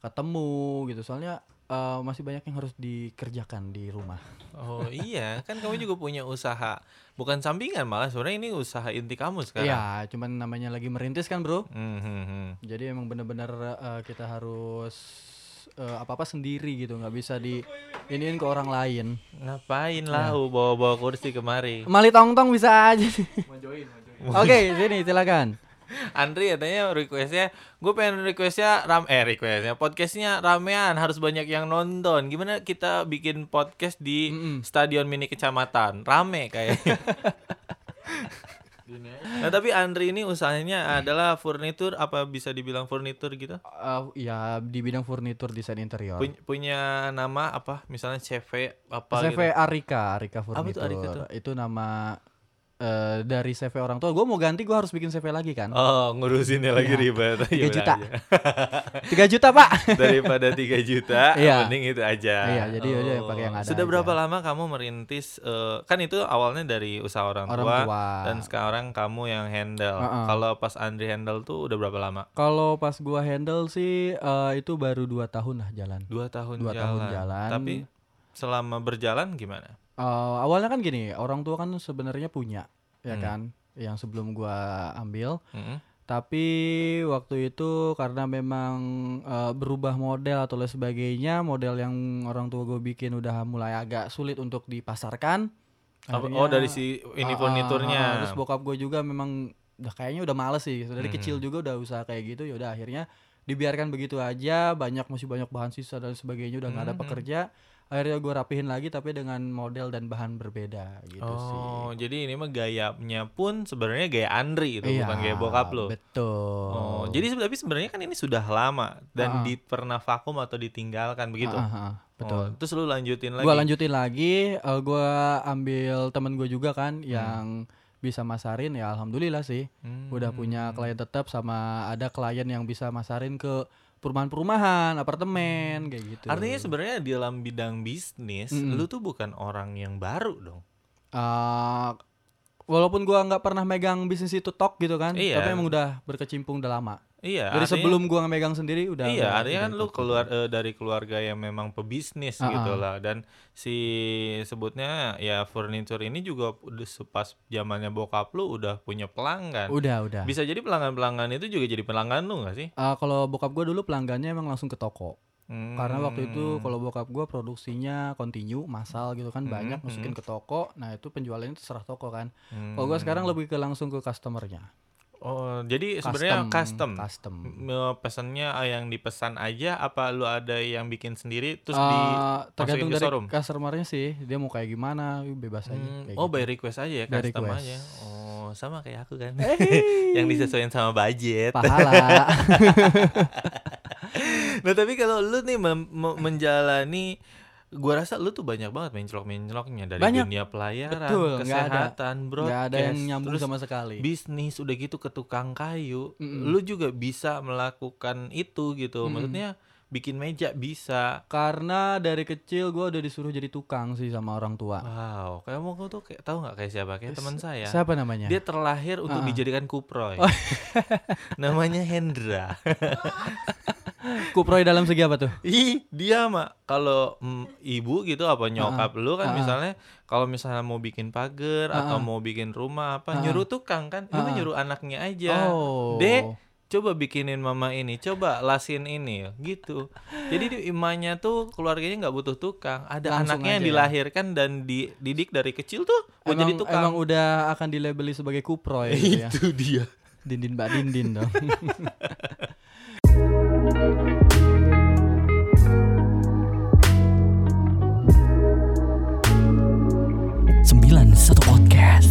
[SPEAKER 3] ketemu gitu. Soalnya eh, masih banyak yang harus dikerjakan di rumah.
[SPEAKER 2] Oh iya, kan kamu juga punya usaha. Bukan sampingan malah sebenarnya ini usaha inti kamu sekarang.
[SPEAKER 3] Iya, cuman namanya lagi merintis kan bro.
[SPEAKER 2] Hmm, hmm, hmm.
[SPEAKER 3] Jadi emang bener-bener eh, kita harus eh, apa-apa sendiri gitu, nggak bisa di iniin ke orang lain.
[SPEAKER 2] Ngapain lau bawa-bawa kursi kemari?
[SPEAKER 3] Mali tong-tong bisa aja sih.
[SPEAKER 4] Mau join, mau join.
[SPEAKER 3] Oke, sini silakan.
[SPEAKER 2] Andri katanya requestnya, gue pengen requestnya ram eh requestnya podcastnya ramean harus banyak yang nonton. Gimana kita bikin podcast di stadion mini kecamatan rame kayaknya.
[SPEAKER 4] Gini aja.
[SPEAKER 2] nah tapi Andri ini usahanya adalah furnitur apa bisa dibilang furnitur gitu?
[SPEAKER 3] Eh, ya di bidang furnitur desain interior.
[SPEAKER 2] Puny- punya nama apa? Misalnya CV apa
[SPEAKER 3] CV
[SPEAKER 2] gitu?
[SPEAKER 3] Arika, Arika
[SPEAKER 2] Apa
[SPEAKER 3] Furnitur.
[SPEAKER 2] tuh Arika tuh?
[SPEAKER 3] Itu nama eh, dari CV orang tua. Gue mau ganti, gue harus bikin CV lagi kan?
[SPEAKER 2] Oh ngurusinnya lagi ribet.
[SPEAKER 3] Tiga
[SPEAKER 2] Ya udah
[SPEAKER 3] juta.
[SPEAKER 2] aja.
[SPEAKER 3] 3 juta pak.
[SPEAKER 2] Daripada 3 juta,
[SPEAKER 3] Iya.
[SPEAKER 2] mending itu aja.
[SPEAKER 3] Iya, jadi yaudah yang pakai yang ada
[SPEAKER 2] Sudah
[SPEAKER 3] aja.
[SPEAKER 2] berapa lama kamu merintis? eh, kan itu awalnya dari usaha orang,
[SPEAKER 3] Orang
[SPEAKER 2] tua,
[SPEAKER 3] tua.
[SPEAKER 2] dan sekarang kamu yang handle.
[SPEAKER 3] Heeh.
[SPEAKER 2] Kalau pas Andri handle tuh udah berapa lama?
[SPEAKER 3] Kalau pas gue handle sih eh, itu baru 2 tahun lah jalan.
[SPEAKER 2] Dua tahun
[SPEAKER 3] Dua
[SPEAKER 2] jalan.
[SPEAKER 3] tahun jalan.
[SPEAKER 2] Tapi selama berjalan gimana?
[SPEAKER 3] Eh, awalnya kan gini, orang tua kan sebenarnya punya, ya
[SPEAKER 2] Hmm.
[SPEAKER 3] kan? Yang sebelum gue ambil.
[SPEAKER 2] Mm-mm.
[SPEAKER 3] Tapi waktu itu karena memang eh, berubah model atau lain sebagainya, model yang orang tua gue bikin udah mulai agak sulit untuk dipasarkan.
[SPEAKER 2] Apa-
[SPEAKER 3] Akhirnya,
[SPEAKER 2] Oh dari si ini
[SPEAKER 3] ah, ah,
[SPEAKER 2] furniturnya.
[SPEAKER 3] ah, terus bokap gue juga memang udah kayaknya udah males sih. Dari
[SPEAKER 2] Hmm.
[SPEAKER 3] kecil juga udah usaha kayak gitu, ya udah akhirnya dibiarkan begitu aja. Banyak masih banyak bahan sisa dan sebagainya udah nggak ada
[SPEAKER 2] Hmm.
[SPEAKER 3] pekerja. Akhirnya gue rapihin lagi tapi dengan model dan bahan berbeda gitu sih. Iya,
[SPEAKER 2] oh jadi ini mah gayanya pun sebenarnya gaya Andri itu gitu, bukan gaya bokap lo.
[SPEAKER 3] Betul.
[SPEAKER 2] Oh, jadi sebe- tapi sebenarnya kan ini sudah lama dan
[SPEAKER 3] Ah.
[SPEAKER 2] di pernah vakum atau ditinggalkan begitu.
[SPEAKER 3] Ah, ah, ah, betul.
[SPEAKER 2] Oh, terus lu lanjutin lagi.
[SPEAKER 3] Gua lanjutin lagi, eh, gua ambil temen gue juga kan yang bisa masarin ya alhamdulillah sih.
[SPEAKER 2] Hmm.
[SPEAKER 3] Udah punya klien tetap sama ada klien yang bisa masarin ke perumahan-perumahan,
[SPEAKER 2] Hmm.
[SPEAKER 3] apartemen kayak gitu.
[SPEAKER 2] Artinya sebenarnya di dalam bidang bisnis,
[SPEAKER 3] Mm-mm.
[SPEAKER 2] lu tuh bukan orang yang baru dong.
[SPEAKER 3] Eh, walaupun gua nggak pernah megang bisnis itu tok gitu kan,
[SPEAKER 2] Iya.
[SPEAKER 3] tapi emang udah berkecimpung udah lama.
[SPEAKER 2] Iya.
[SPEAKER 3] Dari
[SPEAKER 2] artinya-
[SPEAKER 3] sebelum gua megang sendiri udah
[SPEAKER 2] Iya,
[SPEAKER 3] udah-
[SPEAKER 2] artinya
[SPEAKER 3] udah
[SPEAKER 2] kan lu
[SPEAKER 3] ikut.
[SPEAKER 2] keluar eh, dari keluarga yang memang pebisnis
[SPEAKER 3] Ah,
[SPEAKER 2] gitu
[SPEAKER 3] ah.
[SPEAKER 2] lah dan si sebutnya ya furniture ini juga udah sepas zamannya bokap lu udah punya pelanggan.
[SPEAKER 3] Udah, udah.
[SPEAKER 2] Bisa jadi pelanggan-pelanggan itu juga jadi pelanggan lu gak sih?
[SPEAKER 3] Eh, kalau bokap gua dulu pelanggannya emang langsung ke toko.
[SPEAKER 2] Hmm.
[SPEAKER 3] Karena waktu itu kalau bokap gua produksinya continue, massal gitu kan banyak masukin ke toko. Nah, itu penjualannya terserah toko kan.
[SPEAKER 2] Hmm.
[SPEAKER 3] Kalau gua sekarang lebih ke langsung ke customernya.
[SPEAKER 2] Oh, jadi sebenarnya custom.
[SPEAKER 3] Custom.
[SPEAKER 2] M- Pesannya ah, yang dipesan aja apa lu ada yang bikin sendiri terus
[SPEAKER 3] Eh,
[SPEAKER 2] di
[SPEAKER 3] tergantung
[SPEAKER 2] ke
[SPEAKER 3] dari
[SPEAKER 2] showroom?
[SPEAKER 3] customernya sih, dia mau kayak gimana, bebas aja
[SPEAKER 2] Hmm,
[SPEAKER 3] kayak
[SPEAKER 2] oh
[SPEAKER 3] gitu.
[SPEAKER 2] by request aja ya
[SPEAKER 3] By
[SPEAKER 2] custom
[SPEAKER 3] request.
[SPEAKER 2] aja oh sama kayak aku kan yang disesuaikan sama budget
[SPEAKER 3] Eh, Pahala.
[SPEAKER 2] nah tapi kalau lu nih mem- me- menjalani gua rasa lu tuh banyak banget mencelok-menceloknya dari
[SPEAKER 3] Banyak.
[SPEAKER 2] dunia pelayaran
[SPEAKER 3] Betul, nggak ada.
[SPEAKER 2] kesehatan bro
[SPEAKER 3] Nggak ada yang nyambung sama sekali.
[SPEAKER 2] bisnis udah gitu ke tukang kayu
[SPEAKER 3] Mm-mm.
[SPEAKER 2] lu juga bisa melakukan itu gitu maksudnya bikin meja bisa
[SPEAKER 3] Karena dari kecil gua udah disuruh jadi tukang sih sama
[SPEAKER 2] Oh,
[SPEAKER 3] orang tua.
[SPEAKER 2] wow kayak mau tuh kayak tahu nggak kayak siapa kayak teman saya
[SPEAKER 3] Siapa namanya?
[SPEAKER 2] iya. Dia terlahir untuk
[SPEAKER 3] Ah.
[SPEAKER 2] dijadikan kuproy.
[SPEAKER 3] Oh.
[SPEAKER 2] Namanya Hendra.
[SPEAKER 3] Kuproy dalam segi apa tuh?
[SPEAKER 2] Ih, dia mah kalau mm, ibu gitu apa nyokap lu kan
[SPEAKER 3] Ah.
[SPEAKER 2] misalnya kalau misalnya mau bikin pagar atau mau bikin rumah apa nyuruh tukang kan, itu nyuruh anaknya aja.
[SPEAKER 3] Oh.
[SPEAKER 2] Dek, coba bikinin mama ini, coba lasin ini gitu. Jadi di imannya tuh keluarganya nggak butuh tukang, ada
[SPEAKER 3] Langsung
[SPEAKER 2] anaknya yang
[SPEAKER 3] aja ya.
[SPEAKER 2] dilahirkan dan dididik dari kecil tuh mau
[SPEAKER 3] Emang,
[SPEAKER 2] jadi tukang.
[SPEAKER 3] emang udah akan dilabeli sebagai kuproy gitu ya.
[SPEAKER 2] Itu dia.
[SPEAKER 3] Dindin Mbak Dindin dong.
[SPEAKER 5] Sembilan satu Podcast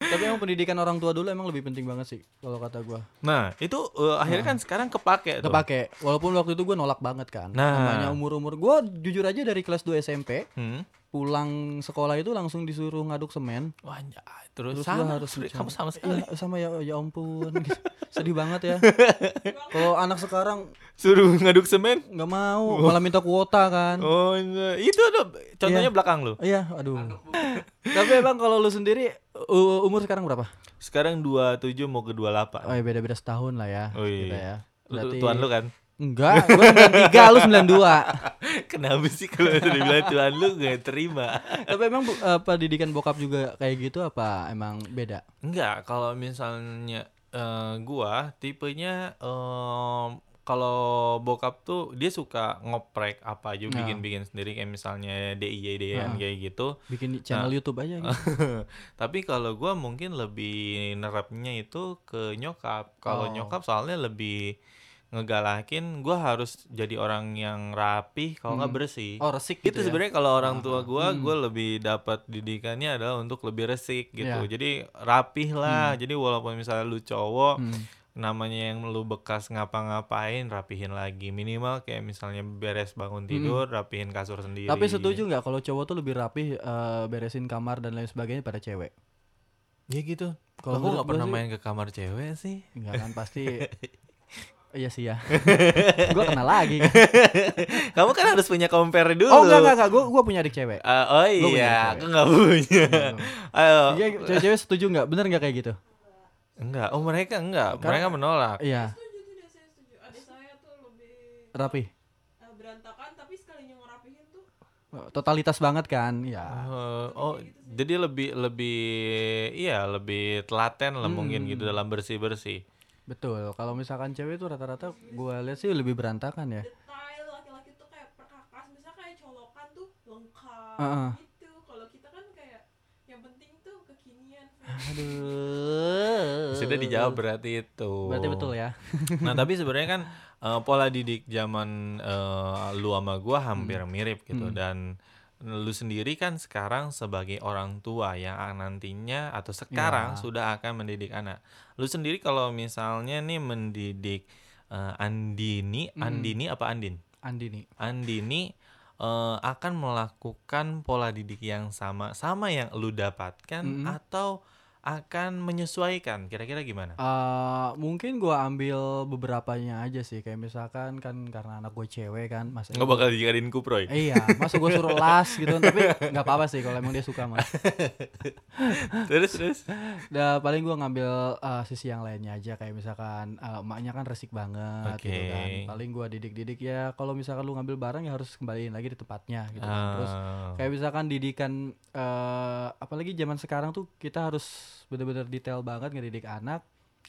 [SPEAKER 2] Tapi emang
[SPEAKER 3] pendidikan orang tua dulu emang lebih penting banget sih kalau kata gua.
[SPEAKER 2] Nah, itu eh, akhirnya kan sekarang kepake tuh.
[SPEAKER 3] Kepake. Walaupun waktu itu gua nolak banget kan.
[SPEAKER 2] Nah.
[SPEAKER 3] Namanya umur-umur gua jujur aja dari kelas 2 SMP
[SPEAKER 2] Hmm.
[SPEAKER 3] pulang sekolah itu langsung disuruh ngaduk semen.
[SPEAKER 2] Wah, anjay. terus,
[SPEAKER 3] Terus
[SPEAKER 2] sama,
[SPEAKER 3] gua harus
[SPEAKER 2] Sri.
[SPEAKER 3] bicara.
[SPEAKER 2] kamu sama sekali.
[SPEAKER 3] Iya, sama ya ya ampun. gitu. Sedih banget ya. Kalau anak sekarang
[SPEAKER 2] Suruh ngaduk semen.
[SPEAKER 3] nggak mau, malah minta kuota kan.
[SPEAKER 2] Oh, iya. itu ada contohnya
[SPEAKER 3] Iya.
[SPEAKER 2] belakang lu.
[SPEAKER 3] Iya, aduh. Tapi emang kalau lu sendiri u- umur sekarang berapa?
[SPEAKER 2] Sekarang 27 mau ke 28.
[SPEAKER 3] Oh ya beda-beda setahun lah ya.
[SPEAKER 2] Oh, iya.
[SPEAKER 3] kita ya.
[SPEAKER 2] Lu-
[SPEAKER 3] Berarti
[SPEAKER 2] Tuan lu kan.
[SPEAKER 3] Enggak, gua 93, lu 92.
[SPEAKER 2] Kenapa sih kalau udah dibilang Tuhan lu gak terima?
[SPEAKER 3] Tapi emang bu- eh, pendidikan bokap juga kayak gitu apa emang beda?
[SPEAKER 2] Enggak, kalau misalnya eh, gua tipenya em, kalau bokap tuh dia suka ngoprek apa aja
[SPEAKER 3] Nah.
[SPEAKER 2] bikin-bikin sendiri kayak misalnya DIY DIN
[SPEAKER 3] Ah.
[SPEAKER 2] kayak gitu.
[SPEAKER 3] Bikin di channel YouTube aja gitu.
[SPEAKER 2] Tapi kalau gua mungkin lebih nerapnya itu ke nyokap. Kalau
[SPEAKER 3] Oh.
[SPEAKER 2] nyokap soalnya lebih ngegalakin gua harus jadi orang yang rapih kalau nggak
[SPEAKER 3] Hmm.
[SPEAKER 2] bersih.
[SPEAKER 3] Oh, resik
[SPEAKER 2] itu
[SPEAKER 3] gitu. ya?
[SPEAKER 2] sebenarnya kalau orang tua gua
[SPEAKER 3] Hmm.
[SPEAKER 2] gua lebih dapat didikannya adalah untuk lebih resik gitu
[SPEAKER 3] Ya.
[SPEAKER 2] jadi rapih lah jadi walaupun misalnya lu cowok
[SPEAKER 3] Hmm.
[SPEAKER 2] namanya yang lu bekas ngapa-ngapain rapihin lagi minimal kayak misalnya beres bangun tidur rapihin kasur sendiri
[SPEAKER 3] Hmm. Tapi
[SPEAKER 2] iya.
[SPEAKER 3] setuju nggak kalau cowok tuh lebih rapih eh, beresin kamar dan lain sebagainya pada cewek?
[SPEAKER 2] ya gitu
[SPEAKER 3] Iya Kalau
[SPEAKER 2] aku
[SPEAKER 3] menurut
[SPEAKER 2] nggak
[SPEAKER 3] gua
[SPEAKER 2] pernah
[SPEAKER 3] sih-
[SPEAKER 2] main ke kamar cewek sih
[SPEAKER 3] Enggak kan pasti Iya sih ya. gua kenal lagi.
[SPEAKER 2] kamu kan harus punya compare dulu
[SPEAKER 3] Oh enggak enggak enggak, gua gua punya adik cewek.
[SPEAKER 2] Ah, oh
[SPEAKER 3] Gua punya
[SPEAKER 2] iya,
[SPEAKER 3] cewek.
[SPEAKER 2] aku nggak punya. Ayo,
[SPEAKER 3] Iya, cewek-cewek setuju nggak? Bener nggak kayak gitu?
[SPEAKER 2] enggak. Oh mereka enggak,
[SPEAKER 3] Karena-
[SPEAKER 2] mereka menolak.
[SPEAKER 3] Iya,
[SPEAKER 5] setuju tidak saya setuju adik saya tuh lebih
[SPEAKER 3] rapi.
[SPEAKER 5] eh, berantakan tapi sekalinya ngerapihin tuh
[SPEAKER 3] Totalitas banget kan? Iya.
[SPEAKER 2] Eh, oh, jadi lebih lebih iya lebih telaten lah mungkin gitu dalam bersih bersih.
[SPEAKER 3] Betul. Kalau misalkan cewek itu rata-rata gua lihat sih lebih berantakan ya.
[SPEAKER 5] detail laki-laki tuh kayak perkakas misalnya kayak colokan tuh lengkap
[SPEAKER 3] Heeh.
[SPEAKER 5] gitu kalau kita kan kayak yang penting tuh kekinian fresh.
[SPEAKER 3] Aduh.
[SPEAKER 2] Sudah dijawab berarti itu.
[SPEAKER 3] Berarti betul ya.
[SPEAKER 2] Nah tapi sebenarnya kan eh, pola didik zaman eh, lu sama gua hampir mirip gitu dan lu sendiri kan sekarang sebagai orang tua yang nantinya atau sekarang
[SPEAKER 3] Iya.
[SPEAKER 2] sudah akan mendidik anak. Lu sendiri kalau misalnya nih mendidik eh, Andini, Andini apa Andin?
[SPEAKER 3] Andi nih.
[SPEAKER 2] Andini eh, akan melakukan pola didik yang sama sama yang lu dapatkan
[SPEAKER 3] Mm-mm.
[SPEAKER 2] atau akan menyesuaikan kira-kira gimana?
[SPEAKER 3] Eh, mungkin gua ambil beberapanya aja sih kayak misalkan kan karena anak gue cewek kan mas
[SPEAKER 2] Nggak bakal dijadiin kuproy.
[SPEAKER 3] Eh, iya masa gue suruh las gitu tapi nggak apa-apa sih kalau emang dia suka mah
[SPEAKER 2] terus terus.
[SPEAKER 3] Nah, paling gua ngambil uh, sisi yang lainnya aja kayak misalkan uh, emaknya kan resik banget gitu kan.
[SPEAKER 2] Oke.
[SPEAKER 3] Paling gua didik-didik ya kalau misalkan lu ngambil barang ya harus kembaliin lagi di tempatnya gitu kan. Terus
[SPEAKER 2] Ah.
[SPEAKER 3] kayak misalkan didikan eh apalagi zaman sekarang tuh kita harus bener-bener detail banget ngedidik anak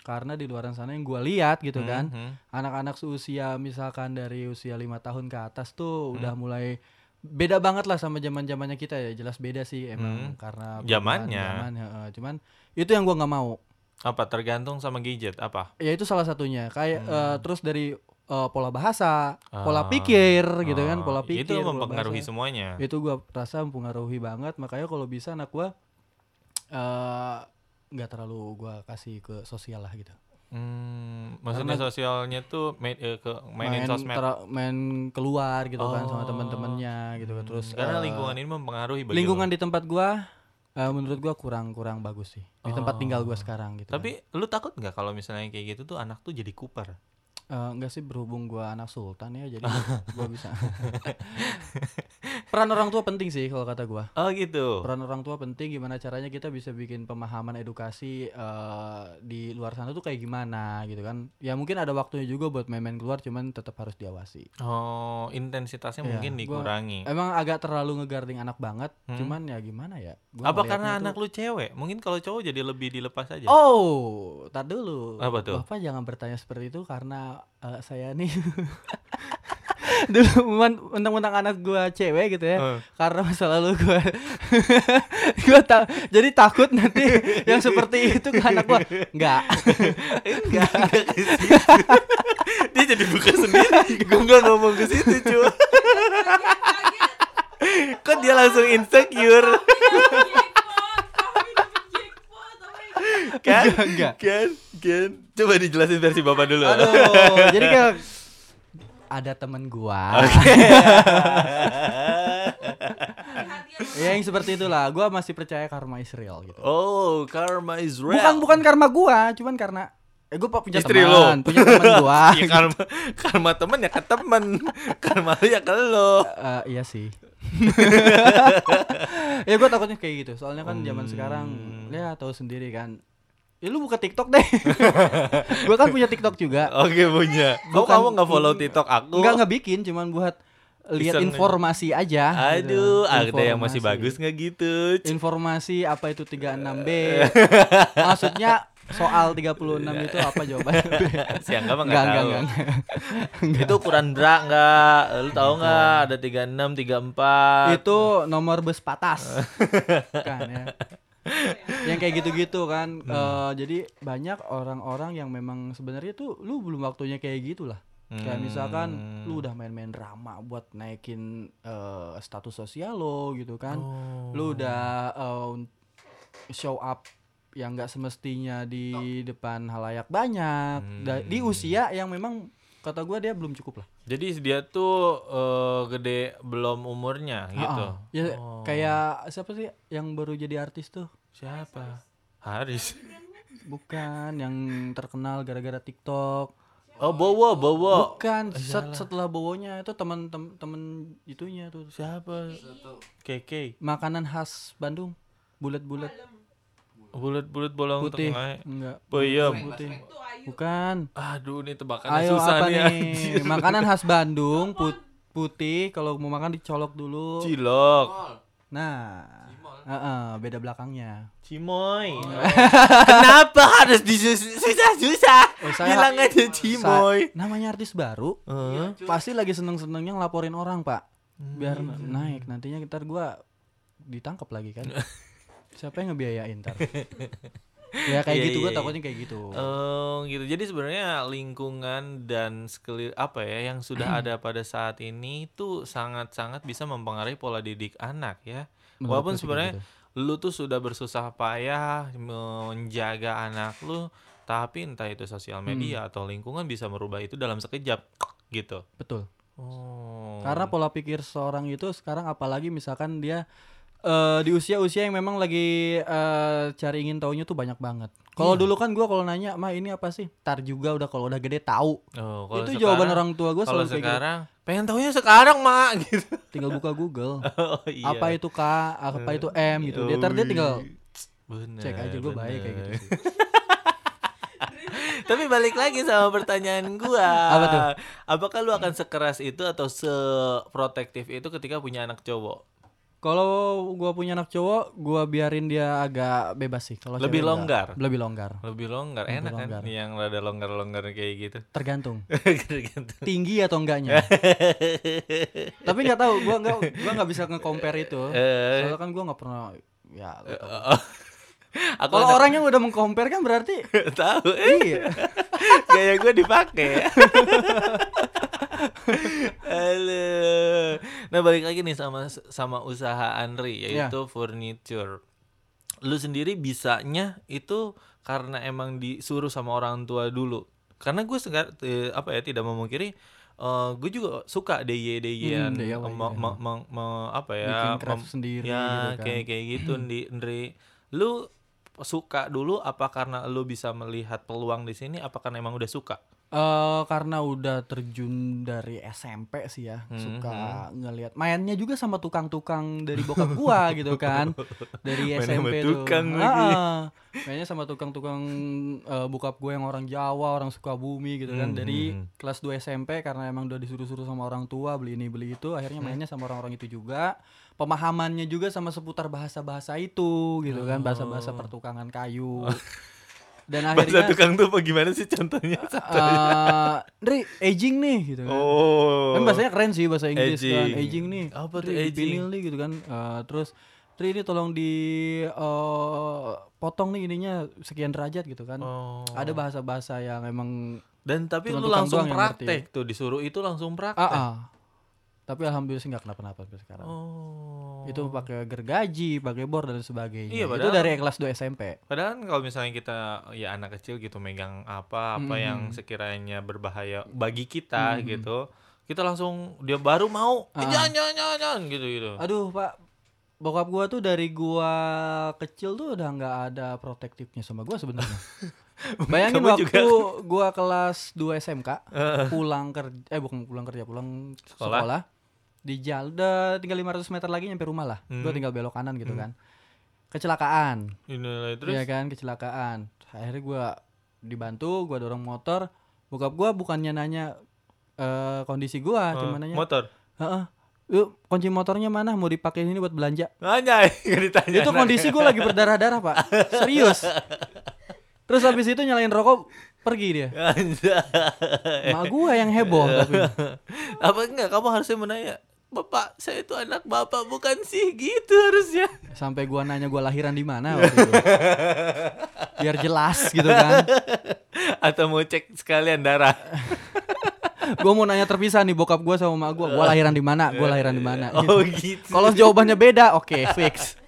[SPEAKER 3] karena di luaran sana yang gua lihat gitu kan
[SPEAKER 2] Mhm.
[SPEAKER 3] anak-anak seusia misalkan dari usia lima tahun ke atas
[SPEAKER 2] Hmm.
[SPEAKER 3] tuh udah mulai beda banget lah sama zaman zamannya kita ya jelas beda sih
[SPEAKER 2] Hmm.
[SPEAKER 3] emang karena perubahan
[SPEAKER 2] Zamannya.
[SPEAKER 3] zaman, heeh. cuman itu yang gua nggak mau
[SPEAKER 2] Apa tergantung sama gadget apa?
[SPEAKER 3] ya itu salah satunya kayak eh, terus dari eh, pola bahasa
[SPEAKER 2] Hmm. Ah,
[SPEAKER 3] pola pikir gitu
[SPEAKER 2] ah,
[SPEAKER 3] kan pola pikir
[SPEAKER 2] Itu
[SPEAKER 3] pola
[SPEAKER 2] mempengaruhi
[SPEAKER 3] bahasa. Iya.
[SPEAKER 2] semuanya.
[SPEAKER 3] itu gua rasa mempengaruhi banget makanya kalau bisa anak gua eh, nggak terlalu gua kasih ke sosial lah gitu
[SPEAKER 2] Hmm, maksudnya
[SPEAKER 3] Karena-
[SPEAKER 2] sosialnya tuh main, eh, ke mainin sosmed.
[SPEAKER 3] tera- main keluar gitu kan
[SPEAKER 2] Oh.
[SPEAKER 3] sama teman-temannya gitu kan terus
[SPEAKER 2] Hmm, Karena
[SPEAKER 3] eh,
[SPEAKER 2] lingkungan ini mempengaruhi bagi lu.
[SPEAKER 3] lingkungan di tempat gua eh, menurut gua kurang kurang bagus sih di tempat tinggal gua sekarang gitu kan.
[SPEAKER 2] Oh. Tapi lu takut nggak kalau misalnya kayak gitu tuh anak tuh jadi kuper?
[SPEAKER 3] Eh, enggak sih berhubung gua anak sultan ya jadi gua- gua bisa peran orang tua penting sih kalau kata gua
[SPEAKER 2] Oh gitu.
[SPEAKER 3] peran orang tua penting gimana caranya kita bisa bikin pemahaman edukasi eh, di luar sana tuh kayak gimana gitu kan ya mungkin ada waktunya juga buat main-main keluar cuman tetap harus diawasi
[SPEAKER 2] Oh, intensitasnya
[SPEAKER 3] Iya,
[SPEAKER 2] mungkin
[SPEAKER 3] gua- eh,
[SPEAKER 2] dikurangi.
[SPEAKER 3] emang agak terlalu ngegarding anak banget
[SPEAKER 2] Ya. Hmm.
[SPEAKER 3] cuman ya gimana ya Gua
[SPEAKER 2] Apa
[SPEAKER 3] ngelihatnya
[SPEAKER 2] karena
[SPEAKER 3] tuh-
[SPEAKER 2] anak lu cewek? Mungkin kalau cowok jadi lebih dilepas aja.
[SPEAKER 3] Oh, tar dulu.
[SPEAKER 2] Apa tuh?
[SPEAKER 3] Bapak jangan bertanya seperti itu karena eh, saya nih dulu men- mentang-mentang anak gua cewek gitu ya.
[SPEAKER 2] Eh.
[SPEAKER 3] Karena masa lalu gua gua ta- jadi takut nanti yang seperti itu ke anak gua. Enggak.
[SPEAKER 2] Enggak, enggak ke situ. Dia jadi buka sendiri. Gue enggak ngomong ke situ, cuy.
[SPEAKER 5] gitu,
[SPEAKER 2] Kok dia langsung insecure?
[SPEAKER 5] Jackpot, kami dapat jackpot, oh my God.
[SPEAKER 2] kan?
[SPEAKER 3] Enggak.
[SPEAKER 2] Kan? Kan? Coba dijelasin versi Bapak dulu.
[SPEAKER 3] Aduh, jadi kayak ada temen gua.
[SPEAKER 5] Perhatian
[SPEAKER 3] ya yang seperti itulah. Gua masih percaya karma is real gitu.
[SPEAKER 2] Oh, karma is real.
[SPEAKER 3] Bukan bukan karma gua, cuman karena eh gua punya
[SPEAKER 2] Istri lo.
[SPEAKER 3] teman, punya teman gua.
[SPEAKER 2] Ya, karma, karma temen ya ke temen. karma lu ya ke lo.
[SPEAKER 3] Eh, iya sih. ya gua takutnya kayak gitu. Soalnya kan zaman sekarang
[SPEAKER 2] Hmm.
[SPEAKER 3] ya tahu sendiri kan. Ya lu buka TikTok deh. gua kan punya TikTok juga.
[SPEAKER 2] Oke punya. Kok
[SPEAKER 3] Bukan-
[SPEAKER 2] kamu nggak follow TikTok aku?
[SPEAKER 3] Enggak nggak bikin, cuman buat lihat
[SPEAKER 2] Iseng aja.
[SPEAKER 3] informasi aja.
[SPEAKER 2] Aduh,
[SPEAKER 3] gitu.
[SPEAKER 2] ada yang masih
[SPEAKER 3] Informasi.
[SPEAKER 2] bagus nggak gitu? C-
[SPEAKER 3] informasi apa itu 36B maksudnya soal 36 itu apa jawabannya
[SPEAKER 2] Si Angga mah Iya.
[SPEAKER 3] enggak
[SPEAKER 2] nggak
[SPEAKER 3] enggak
[SPEAKER 2] tahu.
[SPEAKER 3] enggak
[SPEAKER 2] Itu ukuran bra nggak? Lu tahu nggak? Ada 36, 34.
[SPEAKER 3] itu nomor bus patas kan ya yang kayak gitu-gitu kan
[SPEAKER 2] Hmm.
[SPEAKER 3] Eh, jadi banyak orang-orang yang memang sebenarnya tuh lu belum waktunya kayak gitulah
[SPEAKER 2] Hmm.
[SPEAKER 3] kayak misalkan lu udah main-main drama buat naikin eh, status sosial lo gitu
[SPEAKER 2] Hmm.
[SPEAKER 3] kan lu udah eh, show up yang nggak semestinya di depan halayak banyak
[SPEAKER 2] Hmm.
[SPEAKER 3] Da- di usia yang memang kata gua dia belum cukup lah
[SPEAKER 2] Jadi dia tuh eh, gede belum umurnya gitu.
[SPEAKER 3] Ah, ah. ya kayak siapa sih yang baru jadi artis tuh
[SPEAKER 2] Siapa? Haris.
[SPEAKER 3] bukan yang terkenal gara-gara TikTok
[SPEAKER 2] Oh, Bowo, Bowo.
[SPEAKER 3] bukan set- setelah bowonya itu teman tem- temen itunya tuh
[SPEAKER 2] Siapa? KK.
[SPEAKER 3] makanan khas Bandung bulat-bulat
[SPEAKER 2] Bulat-bulat bolong
[SPEAKER 3] putih
[SPEAKER 2] tengah. ya. Oh, iya.
[SPEAKER 3] enggak
[SPEAKER 2] Peyem.
[SPEAKER 3] putih
[SPEAKER 5] itu ayu
[SPEAKER 3] bukan
[SPEAKER 2] Aduh, ini tebakannya
[SPEAKER 3] Ayo
[SPEAKER 2] susah
[SPEAKER 3] apa
[SPEAKER 2] nih.
[SPEAKER 3] nih?
[SPEAKER 2] anjing.
[SPEAKER 3] Makanan khas Bandung put- putih kalau mau makan dicolok dulu.
[SPEAKER 2] Cilok.
[SPEAKER 4] Mall.
[SPEAKER 3] Nah, heeh, beda belakangnya.
[SPEAKER 2] Cimoy.
[SPEAKER 3] Oh.
[SPEAKER 2] Kenapa harus disusah-susah?
[SPEAKER 3] Oh, saya-
[SPEAKER 2] Bilang aja
[SPEAKER 3] Sa-
[SPEAKER 2] Cimoy.
[SPEAKER 3] namanya artis baru,
[SPEAKER 2] Heeh.
[SPEAKER 3] pasti lagi seneng-senengnya ngelaporin orang, Pak. Biar na-
[SPEAKER 2] Hmm.
[SPEAKER 3] naik nantinya kita gua ditangkap lagi kan. Siapa yang ngebiayain ntar? ya kayak
[SPEAKER 2] Iya,
[SPEAKER 3] gitu
[SPEAKER 2] iya,
[SPEAKER 3] gua
[SPEAKER 2] iya.
[SPEAKER 3] takutnya kayak gitu.
[SPEAKER 2] Oh gitu. Jadi sebenarnya lingkungan dan sekelir apa ya yang
[SPEAKER 3] Hmm.
[SPEAKER 2] sudah ada pada saat ini itu sangat-sangat bisa mempengaruhi pola didik anak ya.
[SPEAKER 3] Menurut
[SPEAKER 2] Walaupun
[SPEAKER 3] gua sih
[SPEAKER 2] sebenarnya
[SPEAKER 3] kayak gitu.
[SPEAKER 2] lu tuh sudah bersusah payah menjaga anak lu, tapi entah itu sosial
[SPEAKER 3] Hmm.
[SPEAKER 2] media atau lingkungan bisa merubah itu dalam sekejap gitu.
[SPEAKER 3] Betul.
[SPEAKER 2] Oh.
[SPEAKER 3] Karena pola pikir seorang itu sekarang apalagi misalkan dia eh, di usia-usia yang memang lagi eh, cari ingin taunya tuh banyak banget. Kalau
[SPEAKER 2] Iya.
[SPEAKER 3] dulu kan gua kalau nanya, "Ma, ini apa sih?" Tar juga udah kalau udah gede tahu.
[SPEAKER 2] Oh, kalau sekarang-
[SPEAKER 3] itu jawaban orang tua gua
[SPEAKER 2] kalau
[SPEAKER 3] selalu kayak gitu.
[SPEAKER 2] sekarang pengen taunya sekarang mak gitu
[SPEAKER 3] Tinggal buka Google.
[SPEAKER 2] oh, iya. Eh,
[SPEAKER 3] Apa itu K, apa itu M gitu. Dia tar dia tinggal
[SPEAKER 2] Bener,
[SPEAKER 3] cek aja gua baik kayak gitu
[SPEAKER 2] bener.
[SPEAKER 3] sih.
[SPEAKER 2] tapi balik lagi sama pertanyaan gua
[SPEAKER 3] Apa tuh?
[SPEAKER 2] apakah lu akan sekeras itu atau seprotektif itu ketika punya anak cowok
[SPEAKER 3] Kalau gua punya anak cowok, gua biarin dia agak bebas sih. Kalau
[SPEAKER 2] Lebih
[SPEAKER 3] cewek
[SPEAKER 2] longgar?
[SPEAKER 3] enggak. lebih longgar.
[SPEAKER 2] lebih longgar
[SPEAKER 3] Lebih
[SPEAKER 2] enak
[SPEAKER 3] longgar.
[SPEAKER 2] kan yang rada longgar longgar kayak gitu kan.
[SPEAKER 3] Tergantung
[SPEAKER 2] Gitu-gitu.
[SPEAKER 3] tinggi atau enggaknya. Tapi nggak tahu, gua nggak gua nggak bisa nge-compare itu.
[SPEAKER 2] Eh.
[SPEAKER 3] Soalnya kan gua nggak pernah ya. lu tahu.
[SPEAKER 2] aku
[SPEAKER 3] Kalau
[SPEAKER 2] nggak
[SPEAKER 3] orang yang udah meng-compare kan berarti
[SPEAKER 2] tahu
[SPEAKER 3] iya.
[SPEAKER 2] gaya gue dipakai Halo. Nah balik lagi nih sama sama usaha Andri
[SPEAKER 3] Iya.
[SPEAKER 2] yaitu furniture. Lu sendiri bisanya itu karena emang disuruh sama orang tua dulu. Karena gue segar eh, apa ya tidak memungkiri eh, gue juga suka DIY DIY-an
[SPEAKER 3] Hmm, DIY,
[SPEAKER 2] me- me- me- me- apa ya
[SPEAKER 3] Bikin craft
[SPEAKER 2] mem-
[SPEAKER 3] sendiri
[SPEAKER 2] ya
[SPEAKER 3] gitu kan.
[SPEAKER 2] kayak kayak gitu Ndi- Ndri lu suka dulu apa karena lu bisa melihat peluang di sini apa karena emang udah suka
[SPEAKER 3] Eh, karena udah terjun dari SMP sih ya
[SPEAKER 2] Hmm,
[SPEAKER 3] suka ngelihat mainnya juga sama tukang-tukang dari bokap gua gitu kan dari
[SPEAKER 2] Main sama
[SPEAKER 3] SMP
[SPEAKER 2] tukang
[SPEAKER 3] tuh
[SPEAKER 2] lagi.
[SPEAKER 3] Ah, mainnya sama tukang-tukang eh, bokap gua yang orang Jawa orang Sukabumi gitu
[SPEAKER 2] Hmm,
[SPEAKER 3] kan dari kelas 2 SMP karena emang udah disuruh-suruh sama orang tua beli ini beli itu akhirnya
[SPEAKER 2] Hmm.
[SPEAKER 3] mainnya sama orang-orang itu juga pemahamannya juga sama seputar bahasa-bahasa itu gitu kan bahasa-bahasa pertukangan kayu dan akhirnya
[SPEAKER 2] Oh. Bahasa tukang tuh apa gimana sih contohnya?
[SPEAKER 3] Eh, Ndri, aging nih gitu kan.
[SPEAKER 2] Oh.
[SPEAKER 3] Kan bahasanya keren sih bahasa Inggris
[SPEAKER 2] Aging.
[SPEAKER 3] kan. Aging nih.
[SPEAKER 2] Apa
[SPEAKER 3] Ndri,
[SPEAKER 2] tuh aging?
[SPEAKER 3] dipinil nih gitu kan. Eh, terus Ndri ini tolong di eh, potong nih ininya sekian derajat gitu kan.
[SPEAKER 2] Oh.
[SPEAKER 3] Ada bahasa-bahasa yang emang
[SPEAKER 2] Dan tapi
[SPEAKER 3] Tukang
[SPEAKER 2] lu
[SPEAKER 3] tukang
[SPEAKER 2] langsung
[SPEAKER 3] doang yang ngerti.
[SPEAKER 2] praktek tuh disuruh itu langsung
[SPEAKER 3] ah,
[SPEAKER 2] praktek.
[SPEAKER 3] ah. Tapi alhamdulillah sih nggak kenapa-napa sampai sekarang.
[SPEAKER 2] Oh.
[SPEAKER 3] Itu pakai gergaji, pakai bor dan sebagainya.
[SPEAKER 2] Iya,
[SPEAKER 3] itu
[SPEAKER 2] padahal-
[SPEAKER 3] dari kelas 2 SMP.
[SPEAKER 2] Padahal kan kalau misalnya kita ya anak kecil gitu megang apa apa
[SPEAKER 3] Mm.
[SPEAKER 2] yang sekiranya berbahaya bagi kita
[SPEAKER 3] Mm.
[SPEAKER 2] gitu, kita langsung dia baru mau "Eh,
[SPEAKER 3] Ah.
[SPEAKER 2] jangan jangan jangan, jangan," gitu gitu.
[SPEAKER 3] Aduh, Pak. Bokap gua tuh dari gua kecil tuh udah nggak ada protektifnya sama gua sebenarnya. Bayangin
[SPEAKER 2] Kamu
[SPEAKER 3] waktu
[SPEAKER 2] juga.
[SPEAKER 3] gua kelas 2 SMK, pulang kerja eh bukan pulang kerja, pulang
[SPEAKER 2] Sekolah.
[SPEAKER 3] sekolah. Di jalan udah tinggal 500 meter lagi nyampe rumah lah. Gua
[SPEAKER 2] Hmm. tinggal
[SPEAKER 3] tinggal belok kanan gitu
[SPEAKER 2] Hmm.
[SPEAKER 3] kan. Kecelakaan.
[SPEAKER 2] Inilah, terus
[SPEAKER 3] Iya kan kecelakaan. Akhirnya gua dibantu, gua dorong motor. Bokap gua bukannya nanya eh, kondisi gua,
[SPEAKER 2] eh,
[SPEAKER 3] cuman nanya,
[SPEAKER 2] motor.
[SPEAKER 3] "Heeh, yuk, kunci motornya mana? Mau dipakai ini buat belanja."
[SPEAKER 2] Nanya, nggak ditanya.
[SPEAKER 3] Itu kondisi gua lagi berdarah-darah, Pak. Serius. Terus habis itu nyalain rokok, pergi dia.
[SPEAKER 2] Anjay.
[SPEAKER 3] Mak gua yang heboh
[SPEAKER 2] Iya.
[SPEAKER 3] tapi.
[SPEAKER 2] apa enggak kamu harusnya menanya bapak saya itu anak bapak bukan sih gitu harusnya
[SPEAKER 3] Sampai gua nanya gua lahiran di mana waktu itu. Biar jelas gitu kan.
[SPEAKER 2] atau mau cek sekalian darah
[SPEAKER 3] Gua mau nanya terpisah nih bokap gua sama mak gua, gua lahiran di mana? Ah, Gua lahiran di mana? gitu.
[SPEAKER 2] oh gitu
[SPEAKER 3] Kalau jawabannya beda, oke fix.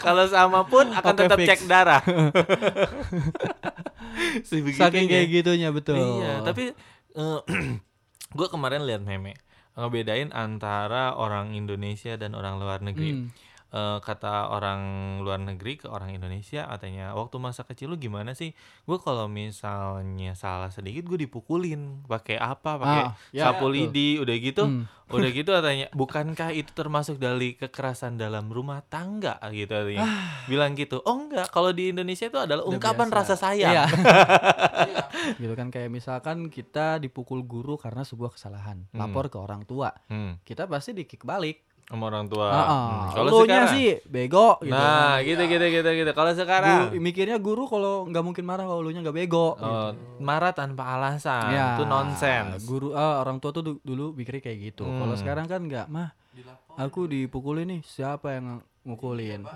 [SPEAKER 2] kalau sama pun akan
[SPEAKER 3] Oke,
[SPEAKER 2] tetap
[SPEAKER 3] fix.
[SPEAKER 2] cek darah
[SPEAKER 3] Saking kayak gitu.
[SPEAKER 2] Sebegitunya.
[SPEAKER 3] gitunya betul.
[SPEAKER 2] Iya, tapi gue kemarin lihat meme ngebedain antara orang Indonesia dan orang luar negeri.
[SPEAKER 3] Hmm.
[SPEAKER 2] Eh, kata orang luar negeri ke orang Indonesia katanya waktu masa kecil lu gimana sih? Gue kalau misalnya salah sedikit gue dipukulin pakai apa? Pakai
[SPEAKER 3] Ah, ya,
[SPEAKER 2] sapu
[SPEAKER 3] betul.
[SPEAKER 2] lidi udah gitu.
[SPEAKER 3] Hmm.
[SPEAKER 2] Udah gitu katanya, bukankah itu termasuk dari kekerasan dalam rumah tangga gitu katanya. Bilang gitu. Oh enggak, kalau di Indonesia itu adalah
[SPEAKER 3] Ah. Udah
[SPEAKER 2] ungkapan
[SPEAKER 3] biasa.
[SPEAKER 2] rasa sayang.
[SPEAKER 3] Iya.
[SPEAKER 4] Iya,
[SPEAKER 3] gitu kan kayak misalkan kita dipukul guru karena sebuah kesalahan,
[SPEAKER 2] Hmm.
[SPEAKER 3] lapor ke orang tua,
[SPEAKER 2] Hmm.
[SPEAKER 3] kita pasti dikick balik.
[SPEAKER 2] sama orang tua.
[SPEAKER 3] Ah, ah.
[SPEAKER 2] Hmm. Kalau
[SPEAKER 3] Elunya
[SPEAKER 2] sekarang,
[SPEAKER 3] sih bego gitu.
[SPEAKER 2] nah gitu gitu gitu gitu. Kalau sekarang
[SPEAKER 3] Guru- mikirnya guru kalau nggak mungkin marah kalau elunya nggak bego. gitu.
[SPEAKER 2] eh, marah tanpa alasan
[SPEAKER 3] Ya,
[SPEAKER 2] nah, itu nonsens.
[SPEAKER 3] Guru ah, orang tua tuh du- dulu mikirnya kayak gitu.
[SPEAKER 2] Hmm.
[SPEAKER 3] Kalau sekarang kan nggak, mah
[SPEAKER 4] Dilapor.
[SPEAKER 3] aku dipukulin nih, siapa yang ngukulin?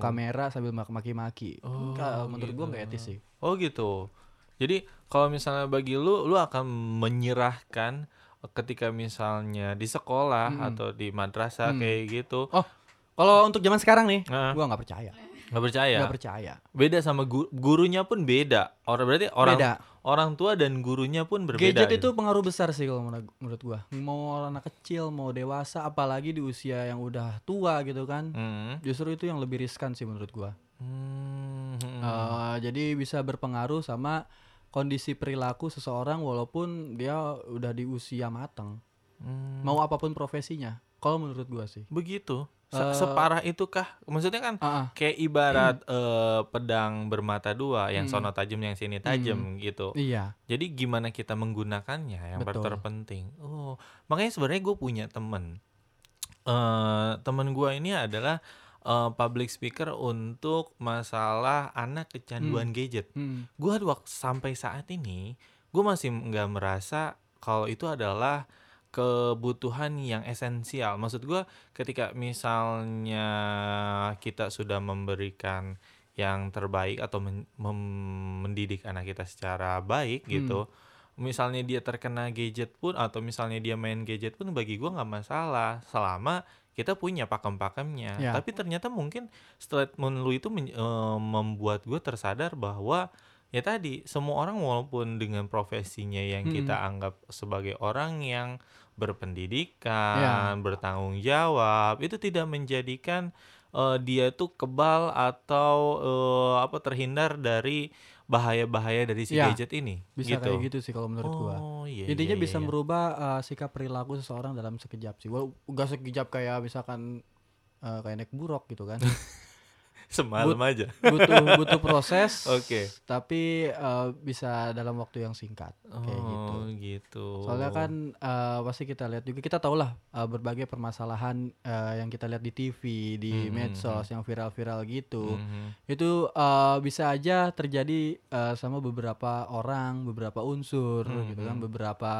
[SPEAKER 2] Hmm.
[SPEAKER 3] kamera sambil mak- maki-maki. Nggak, menurut gua nggak etis sih.
[SPEAKER 2] Oh gitu. Jadi kalau misalnya bagi lu, lu akan menyerahkan ketika misalnya di sekolah
[SPEAKER 3] Hmm.
[SPEAKER 2] atau di madrasah kayak gitu.
[SPEAKER 3] Oh, kalau untuk zaman sekarang nih,
[SPEAKER 2] Nah.
[SPEAKER 3] gua nggak percaya.
[SPEAKER 2] Nggak percaya.
[SPEAKER 3] Nggak percaya.
[SPEAKER 2] beda sama gu- gurunya pun beda. Orang berarti orang
[SPEAKER 3] Beda.
[SPEAKER 2] orang tua dan gurunya pun berbeda. gitu.
[SPEAKER 3] Gadget itu pengaruh besar sih kalau menurut menurut gua. Mau orang anak kecil, mau dewasa, apalagi di usia yang udah tua gitu kan.
[SPEAKER 2] Hmm.
[SPEAKER 3] Justru itu yang lebih riskan sih menurut gua.
[SPEAKER 2] Hmm.
[SPEAKER 3] Eh, jadi bisa berpengaruh sama kondisi perilaku seseorang walaupun dia udah di usia matang.
[SPEAKER 2] Hmm.
[SPEAKER 3] Mau apapun profesinya. Kalau menurut gua sih.
[SPEAKER 2] Begitu. Se-
[SPEAKER 3] Eh,
[SPEAKER 2] separah itu kah? Maksudnya kan
[SPEAKER 3] Ah, ah.
[SPEAKER 2] kayak ibarat eh, pedang bermata dua yang
[SPEAKER 3] Hmm.
[SPEAKER 2] sono tajam yang sini tajam gitu
[SPEAKER 3] Iya.
[SPEAKER 2] jadi gimana kita menggunakannya yang ter-
[SPEAKER 3] Betul.
[SPEAKER 2] terpenting oh makanya sebenarnya gue punya temen eh temen gue ini adalah eh, public speaker untuk masalah anak kecanduan gadget
[SPEAKER 3] Hmm.
[SPEAKER 2] gue waktu sampai saat ini gue masih nggak merasa kalau itu adalah kebutuhan yang esensial maksud gue ketika misalnya kita sudah memberikan yang terbaik atau men- mem- mendidik anak kita secara baik gitu misalnya dia terkena gadget pun atau misalnya dia main gadget pun bagi gue nggak masalah selama kita punya pakem-pakemnya
[SPEAKER 3] Ya.
[SPEAKER 2] tapi ternyata mungkin statement lu itu men- eh, membuat gue tersadar bahwa ya tadi semua orang walaupun dengan profesinya yang
[SPEAKER 3] Mm-mm.
[SPEAKER 2] kita anggap sebagai orang yang
[SPEAKER 3] Ya.
[SPEAKER 2] berpendidikan bertanggung jawab itu tidak menjadikan eh, dia tuh kebal atau eh, apa terhindar dari bahaya-bahaya dari si
[SPEAKER 3] Ya,
[SPEAKER 2] gadget ini
[SPEAKER 3] Bisa
[SPEAKER 2] gitu
[SPEAKER 3] kayak gitu sih kalau menurut gua.
[SPEAKER 2] Oh, iya, iya,
[SPEAKER 3] Intinya bisa
[SPEAKER 2] iya.
[SPEAKER 3] merubah uh, sikap perilaku seseorang dalam sekejap sih. Walau gak sekejap kayak misalkan uh, kayak naik buruk gitu kan.
[SPEAKER 2] semalam aja.
[SPEAKER 3] butuh butuh proses.
[SPEAKER 2] Oke.
[SPEAKER 3] Tapi uh, bisa dalam waktu yang singkat kayak gitu.
[SPEAKER 2] Oh, gitu.
[SPEAKER 3] Soalnya kan uh, pasti kita lihat juga kita tahu lah uh, berbagai permasalahan uh, yang kita lihat di TV, di
[SPEAKER 2] Hmm, hmm,
[SPEAKER 3] medsos yang viral-viral gitu.
[SPEAKER 2] Mhm.
[SPEAKER 3] Itu uh, bisa aja terjadi uh, sama beberapa orang, beberapa unsur
[SPEAKER 2] Hmm,
[SPEAKER 3] gitu
[SPEAKER 2] hmm.
[SPEAKER 3] kan, beberapa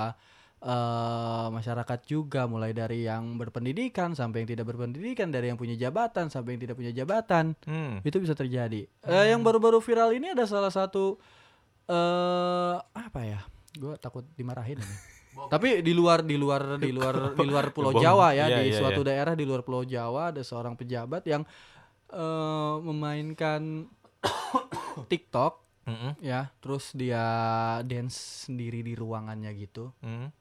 [SPEAKER 3] uh, masyarakat juga mulai dari yang berpendidikan sampai yang tidak berpendidikan, dari yang punya jabatan sampai yang tidak punya jabatan.
[SPEAKER 2] Hmm.
[SPEAKER 3] Itu bisa terjadi. Eh, yang baru-baru viral ini ada salah satu eh apa ya? Gue takut dimarahin ini. Tapi di luar di luar di luar di luar Pulau
[SPEAKER 2] Bom.
[SPEAKER 3] Jawa ya
[SPEAKER 2] Iya,
[SPEAKER 3] di
[SPEAKER 2] iya,
[SPEAKER 3] suatu
[SPEAKER 2] iya.
[SPEAKER 3] daerah di luar Pulau Jawa ada seorang pejabat yang eh, memainkan TikTok
[SPEAKER 2] Mm-mm.
[SPEAKER 3] ya, terus dia dance sendiri di ruangannya gitu
[SPEAKER 2] Mm.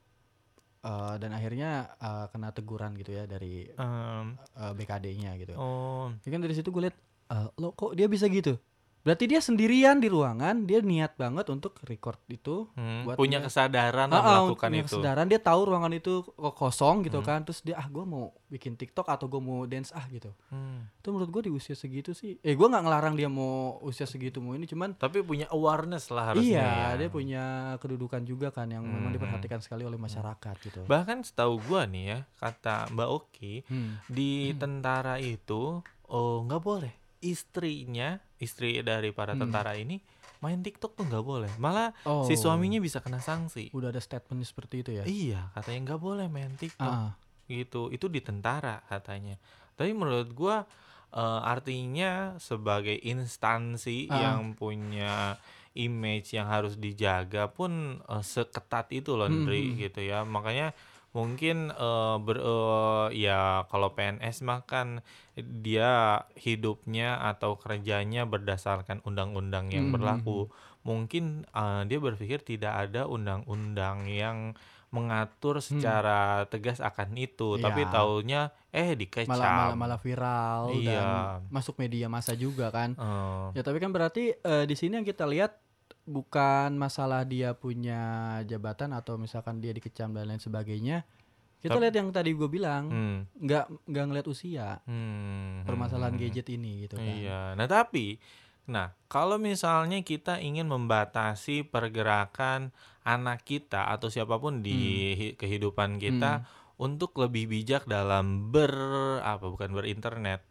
[SPEAKER 3] Eh, dan akhirnya eh, kena teguran gitu ya dari
[SPEAKER 2] Um,
[SPEAKER 3] BKD-nya gitu.
[SPEAKER 2] oh,
[SPEAKER 3] Ya kan dari situ gue lihat "Ah, lo kok dia bisa gitu. Berarti dia sendirian di ruangan, dia niat banget untuk record itu
[SPEAKER 2] mm.
[SPEAKER 3] Buat
[SPEAKER 2] punya
[SPEAKER 3] dia-
[SPEAKER 2] kesadaran lah
[SPEAKER 3] Ah, ah,
[SPEAKER 2] melakukan itu.
[SPEAKER 3] punya
[SPEAKER 2] Hmm.
[SPEAKER 3] kesadaran dia tahu ruangan itu kok kosong gitu kan terus dia ah gue mau bikin TikTok atau gue mau dance ah gitu
[SPEAKER 2] Hmm.
[SPEAKER 3] itu menurut gue di usia segitu sih eh gue nggak ngelarang dia mau usia segitu mau ini cuman
[SPEAKER 2] Tapi punya awareness lah harusnya.
[SPEAKER 3] iya
[SPEAKER 2] ya.
[SPEAKER 3] dia punya kedudukan juga kan yang memang
[SPEAKER 2] Hmm.
[SPEAKER 3] diperhatikan sekali oleh masyarakat gitu
[SPEAKER 2] Bahkan setahu gua nih ya, kata Mbak Oki,
[SPEAKER 3] Hmm.
[SPEAKER 2] di tentara itu oh nggak boleh istrinya istri dari para
[SPEAKER 3] Hmm.
[SPEAKER 2] tentara ini main TikTok tuh nggak boleh malah
[SPEAKER 3] oh
[SPEAKER 2] si suaminya bisa kena sanksi
[SPEAKER 3] udah ada statementnya seperti itu ya
[SPEAKER 2] iya katanya nggak boleh main TikTok
[SPEAKER 3] Ah,
[SPEAKER 2] gitu itu di tentara katanya tapi menurut gua eh, artinya sebagai instansi
[SPEAKER 3] Ah.
[SPEAKER 2] yang punya image yang harus dijaga pun eh, seketat itu loh
[SPEAKER 3] Hmm,
[SPEAKER 2] Ndri
[SPEAKER 3] hmm.
[SPEAKER 2] gitu ya makanya mungkin eh, ber eh, ya kalau PNS mah kan dia hidupnya atau kerjanya berdasarkan undang-undang yang
[SPEAKER 3] Hmm, hmm,
[SPEAKER 2] berlaku mungkin eh, dia berpikir tidak ada undang-undang yang mengatur secara tegas akan itu tapi
[SPEAKER 3] Hmm. Iya.
[SPEAKER 2] taunya eh dikecam
[SPEAKER 3] malah malah malah viral
[SPEAKER 2] Iya.
[SPEAKER 3] dan masuk media massa juga kan
[SPEAKER 2] Eh,
[SPEAKER 3] Ya tapi kan berarti eh, di sini yang kita lihat bukan masalah dia punya jabatan atau misalkan dia dikecam dan lain sebagainya.
[SPEAKER 2] Tap-
[SPEAKER 3] Kita lihat yang tadi gue bilang
[SPEAKER 2] hmm,
[SPEAKER 3] nggak nggak ngeliat usia
[SPEAKER 2] hmm,
[SPEAKER 3] permasalahan
[SPEAKER 2] hmm, hmm.
[SPEAKER 3] gadget ini gitu kan.
[SPEAKER 2] Iya. Nah, tapi nah, kalau misalnya kita ingin membatasi pergerakan anak kita atau siapapun di
[SPEAKER 3] Hmm.
[SPEAKER 2] hi- kehidupan kita untuk lebih bijak dalam ber apa bukan berinternet.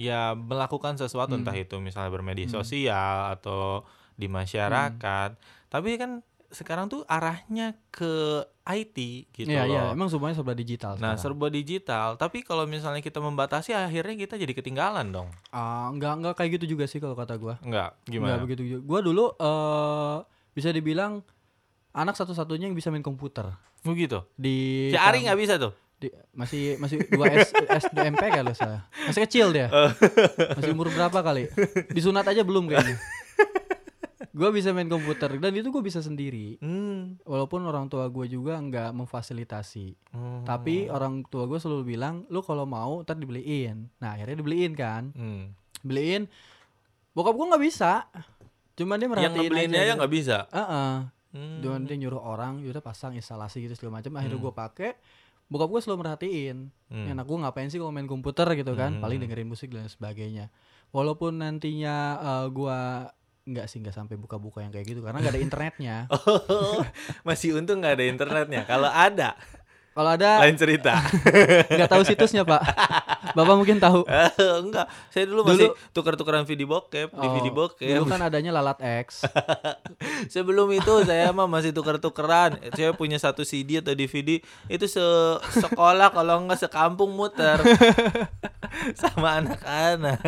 [SPEAKER 2] Ya, melakukan sesuatu
[SPEAKER 3] Hmm.
[SPEAKER 2] entah itu misalnya bermedia
[SPEAKER 3] Hmm.
[SPEAKER 2] sosial atau di masyarakat. Tapi kan sekarang tuh arahnya ke IT gitu
[SPEAKER 3] Iya iya
[SPEAKER 2] loh.
[SPEAKER 3] emang semuanya serba digital.
[SPEAKER 2] Nah,
[SPEAKER 3] sekarang.
[SPEAKER 2] serba digital. Tapi kalau misalnya kita membatasi akhirnya kita jadi ketinggalan dong.
[SPEAKER 3] Ah, nggak nggak kayak gitu juga sih kalau kata gue.
[SPEAKER 2] Enggak,
[SPEAKER 3] Nggak
[SPEAKER 2] gimana?
[SPEAKER 3] begitu juga. Gue dulu eh bisa dibilang anak satu-satunya yang bisa main komputer
[SPEAKER 2] Begitu.
[SPEAKER 3] di
[SPEAKER 2] Si Ari nggak bisa tuh.
[SPEAKER 3] Di- masih masih 2 S SMP kalau saya. Masih kecil dia.
[SPEAKER 2] Oh.
[SPEAKER 3] Masih umur berapa kali? Disunat aja belum kayaknya. Gua bisa main komputer dan itu gue bisa sendiri.
[SPEAKER 2] Hmm.
[SPEAKER 3] Walaupun orang tua gue juga nggak memfasilitasi.
[SPEAKER 2] hmm,
[SPEAKER 3] Tapi
[SPEAKER 2] Oh.
[SPEAKER 3] orang tua gue selalu bilang, "Lu kalau mau ntar dibeliin." Nah, akhirnya dibeliin kan.
[SPEAKER 2] Hmm.
[SPEAKER 3] Beliin. Bokap gue nggak bisa. Cuman dia
[SPEAKER 2] yang
[SPEAKER 3] merhatiin gitu.
[SPEAKER 2] ngebeliinnya aja nggak bisa.
[SPEAKER 3] Heeh.
[SPEAKER 2] Hmm.
[SPEAKER 3] Dia- dia nyuruh orang, yaudah pasang instalasi gitu segala macam. Akhirnya gue pakai. Bokap gue selalu merhatiin.
[SPEAKER 2] Hmm.
[SPEAKER 3] Enak gue ngapain sih kalau main komputer gitu kan? Paling dengerin musik dan sebagainya. Walaupun nantinya eh, gua nggak sih nggak sampai buka-buka yang kayak gitu karena nggak ada internetnya.
[SPEAKER 2] Oh, Masih untung nggak ada internetnya. Kalau ada,
[SPEAKER 3] Kalau ada
[SPEAKER 2] lain cerita.
[SPEAKER 3] nggak tahu situsnya pak. Bapak mungkin tahu.
[SPEAKER 2] Enggak, saya dulu
[SPEAKER 3] Dulu-
[SPEAKER 2] masih tuker-tukeran video bokep, di
[SPEAKER 3] Oh,
[SPEAKER 2] video bokep.
[SPEAKER 3] Dulu kan adanya lalat X.
[SPEAKER 2] Sebelum itu saya mah masih tuker-tukeran. Saya punya satu CD atau DVD itu se sekolah kalau nggak sekampung muter sama anak-anak.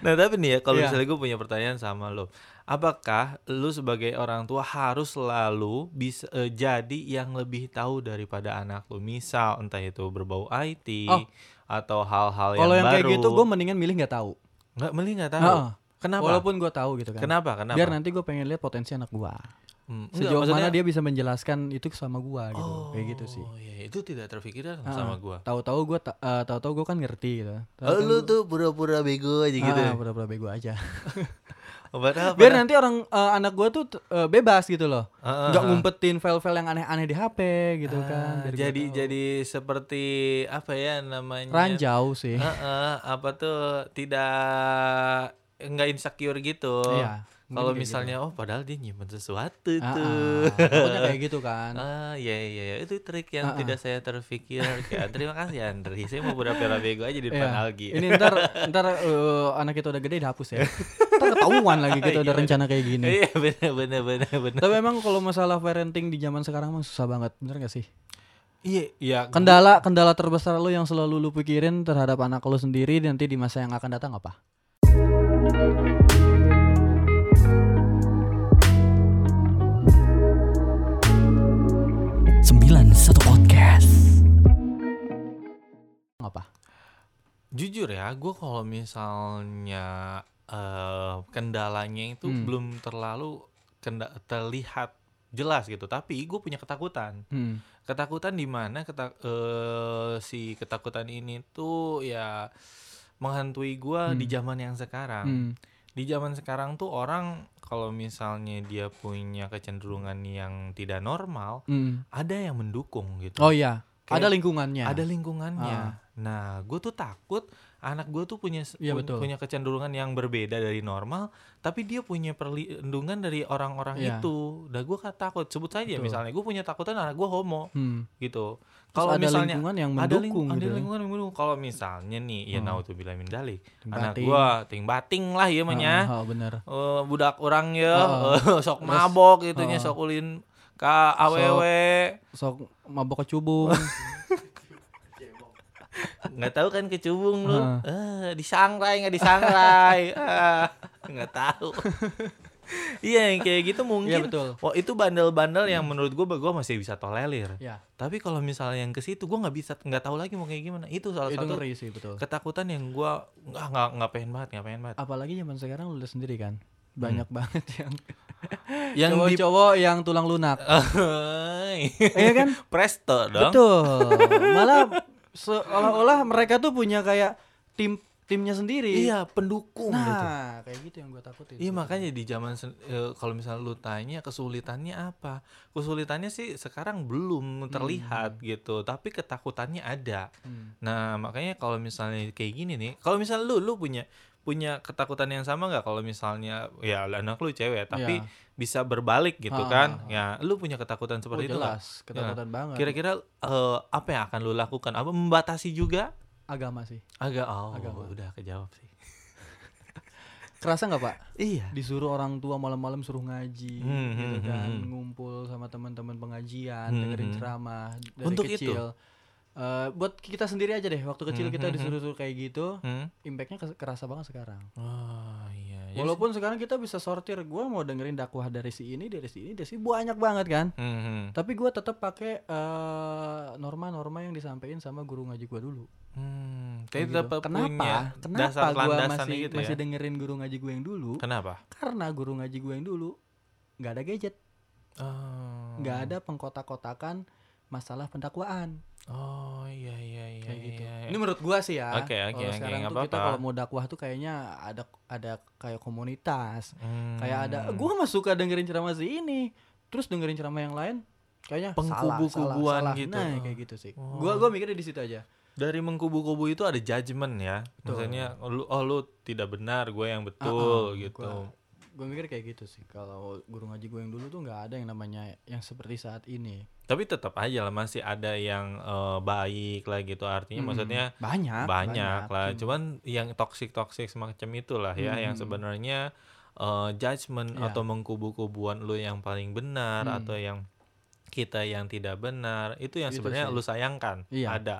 [SPEAKER 2] Nah tapi nih ya kalau
[SPEAKER 3] Iya.
[SPEAKER 2] misalnya gue punya pertanyaan sama lo, apakah lo sebagai orang tua harus selalu bisa eh, jadi yang lebih tahu daripada anak lo? Misal entah itu berbau IT
[SPEAKER 3] Oh.
[SPEAKER 2] atau hal-hal Oh, yang,
[SPEAKER 3] Kalau yang
[SPEAKER 2] baru.
[SPEAKER 3] kayak gitu gue mendingan milih nggak tahu.
[SPEAKER 2] nggak meli nggak tahu.
[SPEAKER 3] Heeh.
[SPEAKER 2] Kenapa?
[SPEAKER 3] Walaupun gue tahu gitu kan.
[SPEAKER 2] Kenapa? Kenapa?
[SPEAKER 3] Biar nanti gue pengen lihat potensi anak gua.
[SPEAKER 2] Hmm, enggak,
[SPEAKER 3] Sejauh
[SPEAKER 2] maksudnya-
[SPEAKER 3] mana dia bisa menjelaskan itu sama gua gitu. Kayak gitu sih.
[SPEAKER 2] Oh iya, itu tidak terfikirkan
[SPEAKER 3] Ah,
[SPEAKER 2] sama gua.
[SPEAKER 3] Tahu-tahu gue tahu-tahu gue kan ngerti gitu.
[SPEAKER 2] Oh, lu tuh pura-pura bego aja gitu.
[SPEAKER 3] Ah, pura-pura bego aja.
[SPEAKER 2] Padahal-
[SPEAKER 3] biar
[SPEAKER 2] padahal-
[SPEAKER 3] nanti orang eh, anak gua tuh t- eh, bebas gitu loh
[SPEAKER 2] Ah, ah,
[SPEAKER 3] nggak
[SPEAKER 2] ah.
[SPEAKER 3] ngumpetin file-file yang aneh-aneh di HP gitu
[SPEAKER 2] Ah,
[SPEAKER 3] kan biar gua
[SPEAKER 2] jadi
[SPEAKER 3] tahu.
[SPEAKER 2] jadi seperti apa ya namanya?
[SPEAKER 3] ranjau sih
[SPEAKER 2] Ah, ah, apa tuh tidak nggak insecure gitu.
[SPEAKER 3] Iya, mungkin
[SPEAKER 2] Kalau
[SPEAKER 3] kayak
[SPEAKER 2] misalnya gitu. oh padahal dia nyimpen sesuatu
[SPEAKER 3] Ah, ah.
[SPEAKER 2] tuh.
[SPEAKER 3] Takutnya kayak gitu kan
[SPEAKER 2] Ah iya iya iya. itu trik yang
[SPEAKER 3] Ah, ah.
[SPEAKER 2] tidak saya terfikirkan. Terima kasih Andri. Saya mau pura-pura bego aja di depan
[SPEAKER 3] Iya.
[SPEAKER 2] Algi.
[SPEAKER 3] ini ntar ntar eh, anak itu udah gede dihapus ya ntar ketahuan lagi gitu ada
[SPEAKER 2] Iya.
[SPEAKER 3] rencana kayak gini
[SPEAKER 2] Iya benar benar benar benar.
[SPEAKER 3] tapi emang kalau masalah parenting di zaman sekarang emang susah banget bener gak sih
[SPEAKER 2] Iya iya.
[SPEAKER 3] kendala kendala terbesar lu yang selalu lu pikirin terhadap anak lu sendiri nanti di masa yang akan datang apa
[SPEAKER 6] sembilan satu
[SPEAKER 2] jujur ya gue kalau misalnya eh, kendalanya itu
[SPEAKER 3] Hmm.
[SPEAKER 2] belum terlalu kenda- terlihat jelas gitu tapi gue punya ketakutan
[SPEAKER 3] Hmm.
[SPEAKER 2] ketakutan di mana keta- eh, si ketakutan ini tuh ya menghantui gue di
[SPEAKER 3] Hmm.
[SPEAKER 2] zaman yang sekarang
[SPEAKER 3] Hmm.
[SPEAKER 2] di zaman sekarang tuh orang kalau misalnya dia punya kecenderungan yang tidak normal
[SPEAKER 3] Hmm.
[SPEAKER 2] ada yang mendukung gitu
[SPEAKER 3] Oh iya,
[SPEAKER 2] Kayak
[SPEAKER 3] ada lingkungannya.
[SPEAKER 2] ada lingkungannya
[SPEAKER 3] Ah.
[SPEAKER 2] nah gue tuh takut anak gue tuh punya
[SPEAKER 3] Iya,
[SPEAKER 2] pun-
[SPEAKER 3] betul.
[SPEAKER 2] punya kecenderungan yang berbeda dari normal tapi dia punya perlindungan dari orang-orang
[SPEAKER 3] Iya.
[SPEAKER 2] itu dan gue kan takut sebut saja
[SPEAKER 3] Betul.
[SPEAKER 2] misalnya gue punya takutan anak gue homo
[SPEAKER 3] Hmm.
[SPEAKER 2] gitu
[SPEAKER 3] Terus
[SPEAKER 2] kalau
[SPEAKER 3] ada
[SPEAKER 2] misalnya
[SPEAKER 3] lingkungan yang
[SPEAKER 2] ada, ling-
[SPEAKER 3] mendukung
[SPEAKER 2] ada
[SPEAKER 3] gitu. ya.
[SPEAKER 2] lingkungan yang mendukung kalau misalnya nih ya
[SPEAKER 3] Hmm.
[SPEAKER 2] nah tuh bilang mendalik
[SPEAKER 3] Ting
[SPEAKER 2] anak
[SPEAKER 3] bating.
[SPEAKER 2] gue ting bating lah ya menya
[SPEAKER 3] Ah, ah, bener.
[SPEAKER 2] Eh, budak orang ya eh,
[SPEAKER 3] Heeh.
[SPEAKER 2] sok
[SPEAKER 3] Terus,
[SPEAKER 2] mabok gitunya
[SPEAKER 3] heeh.
[SPEAKER 2] sok ulin ka awewe
[SPEAKER 3] Sok mabok kecubung.
[SPEAKER 4] Cebong.
[SPEAKER 2] nggak tahu kan kecubung lu eh
[SPEAKER 3] Heeh.
[SPEAKER 2] disangrai nggak disangrai Ah, nggak tahu iya yang kayak gitu mungkin
[SPEAKER 3] Iya betul.
[SPEAKER 2] Wah itu bandel-bandel yang menurut gue gue masih bisa tolerir.
[SPEAKER 3] Ya,
[SPEAKER 2] Tapi kalau misalnya yang ke situ gue nggak bisa nggak tahu lagi mau kayak gimana. Itu salah
[SPEAKER 3] itu
[SPEAKER 2] satu
[SPEAKER 3] ngeri sih betul.
[SPEAKER 2] ketakutan yang gue nggak nggak nggak pengen banget nggak pengen banget.
[SPEAKER 3] Apalagi zaman sekarang lu lihat sendiri kan. Banyak banget yang
[SPEAKER 2] Hmm. Yang di
[SPEAKER 3] cowok-cowok yang tulang lunak. Iya kan?
[SPEAKER 2] Presto dong.
[SPEAKER 3] Betul. Malah seolah-olah mereka tuh punya kayak tim timnya sendiri.
[SPEAKER 2] Iya pendukung gitu.
[SPEAKER 3] Nah, kayak gitu yang gue takutin.
[SPEAKER 2] Iya makanya di zaman sen- eh, kalau misalnya lu tanya kesulitannya apa? Kesulitannya sih sekarang belum terlihat gitu, tapi ketakutannya ada.
[SPEAKER 3] Hmm.
[SPEAKER 2] Nah, makanya kalau misalnya kayak gini nih, kalau misalnya lu lu punya punya ketakutan yang sama nggak kalau misalnya ya anak lu cewek tapi
[SPEAKER 3] Iya.
[SPEAKER 2] bisa berbalik gitu
[SPEAKER 3] Ah,
[SPEAKER 2] kan?
[SPEAKER 3] ah,
[SPEAKER 2] Ya, lu punya ketakutan
[SPEAKER 3] Oh,
[SPEAKER 2] seperti itu nggak?
[SPEAKER 3] jelas, ketakutan banget.
[SPEAKER 2] Kira-kira eh, apa yang akan lu lakukan? Apa membatasi juga?
[SPEAKER 3] agama sih.
[SPEAKER 2] Agak oh,
[SPEAKER 3] Agama.
[SPEAKER 2] udah kejawab sih.
[SPEAKER 3] Kerasa nggak pak?
[SPEAKER 2] Iya.
[SPEAKER 3] Disuruh orang tua malam-malam suruh ngaji,
[SPEAKER 2] Hmm,
[SPEAKER 3] gitu
[SPEAKER 2] hmm,
[SPEAKER 3] kan,
[SPEAKER 2] hmm, hmm.
[SPEAKER 3] ngumpul sama teman-teman pengajian,
[SPEAKER 2] Hmm,
[SPEAKER 3] dengerin
[SPEAKER 2] hmm.
[SPEAKER 3] ceramah dari
[SPEAKER 2] Untuk itu?
[SPEAKER 3] kecil. Eh, buat kita sendiri aja deh, waktu kecil
[SPEAKER 2] Hmm,
[SPEAKER 3] kita
[SPEAKER 2] hmm, hmm.
[SPEAKER 3] disuruh-suruh kayak gitu,
[SPEAKER 2] Hmm?
[SPEAKER 3] impactnya kes- kerasa banget sekarang.
[SPEAKER 2] Oh, iya. Jadi-
[SPEAKER 3] Walaupun sekarang kita bisa sortir, gua mau dengerin dakwah dari si ini, dari si ini, dari si banyak banget kan.
[SPEAKER 2] Hmm, hmm.
[SPEAKER 3] Tapi gua tetap pakai eh, norma-norma yang disampaikan sama guru ngaji gua dulu.
[SPEAKER 2] Hmm,
[SPEAKER 3] Kayak
[SPEAKER 2] kayak
[SPEAKER 3] gitu.
[SPEAKER 2] dapat
[SPEAKER 3] Kenapa?
[SPEAKER 2] punya
[SPEAKER 3] Kenapa
[SPEAKER 2] dasar
[SPEAKER 3] gua
[SPEAKER 2] landasannya
[SPEAKER 3] masih
[SPEAKER 2] gitu
[SPEAKER 3] masih
[SPEAKER 2] ya. Kan
[SPEAKER 3] dengerin guru ngaji gue yang dulu?
[SPEAKER 2] Kenapa?
[SPEAKER 3] Karena guru ngaji gue yang dulu nggak ada gadget,
[SPEAKER 2] Oh.
[SPEAKER 3] nggak ada pengkotak-kotakan masalah pendakwaan
[SPEAKER 2] Oh iya iya iya.
[SPEAKER 3] kayak gitu.
[SPEAKER 2] iya, iya.
[SPEAKER 3] Ini menurut gua sih ya.
[SPEAKER 2] Oke, oke,
[SPEAKER 3] Kalau
[SPEAKER 2] oke,
[SPEAKER 3] sekarang
[SPEAKER 2] nggak
[SPEAKER 3] tuh kita
[SPEAKER 2] apa-apa.
[SPEAKER 3] kalau mau dakwah tuh kayaknya ada ada kayak komunitas,
[SPEAKER 2] Hmm.
[SPEAKER 3] kayak ada gua mah suka dengerin ceramah si ini, terus dengerin ceramah yang lain kayaknya salah,
[SPEAKER 2] Pengkubu-kubuan
[SPEAKER 3] salah, salah.
[SPEAKER 2] gitu.
[SPEAKER 3] Nah, kayak gitu sih.
[SPEAKER 2] Oh.
[SPEAKER 3] Gua gua mikirnya di situ aja.
[SPEAKER 2] dari mengkubu-kubu itu ada judgement ya.
[SPEAKER 3] Betul.
[SPEAKER 2] Misalnya lu oh lu tidak benar, gue yang betul
[SPEAKER 3] Ah, ah,
[SPEAKER 2] gitu.
[SPEAKER 3] gua- Gua mikir kayak gitu sih. Kalau guru ngaji gue yang dulu tuh nggak ada yang namanya yang seperti saat ini.
[SPEAKER 2] Tapi tetap aja lah masih ada yang eh, baik lah gitu. Artinya
[SPEAKER 3] Mm-mm.
[SPEAKER 2] maksudnya
[SPEAKER 3] Hmm. banyak
[SPEAKER 2] banyak, lah.
[SPEAKER 3] Hmm.
[SPEAKER 2] Cuman yang toxic toxic semacam itulah ya yang
[SPEAKER 3] Hmm.
[SPEAKER 2] sebenarnya eh, judgement
[SPEAKER 3] Iya.
[SPEAKER 2] atau mengkubu-kubuan lu yang paling benar
[SPEAKER 3] Hmm.
[SPEAKER 2] atau yang kita yang tidak benar itu yang
[SPEAKER 3] Itu
[SPEAKER 2] sebenarnya
[SPEAKER 3] sih.
[SPEAKER 2] lu sayangkan
[SPEAKER 3] Iya.
[SPEAKER 2] ada.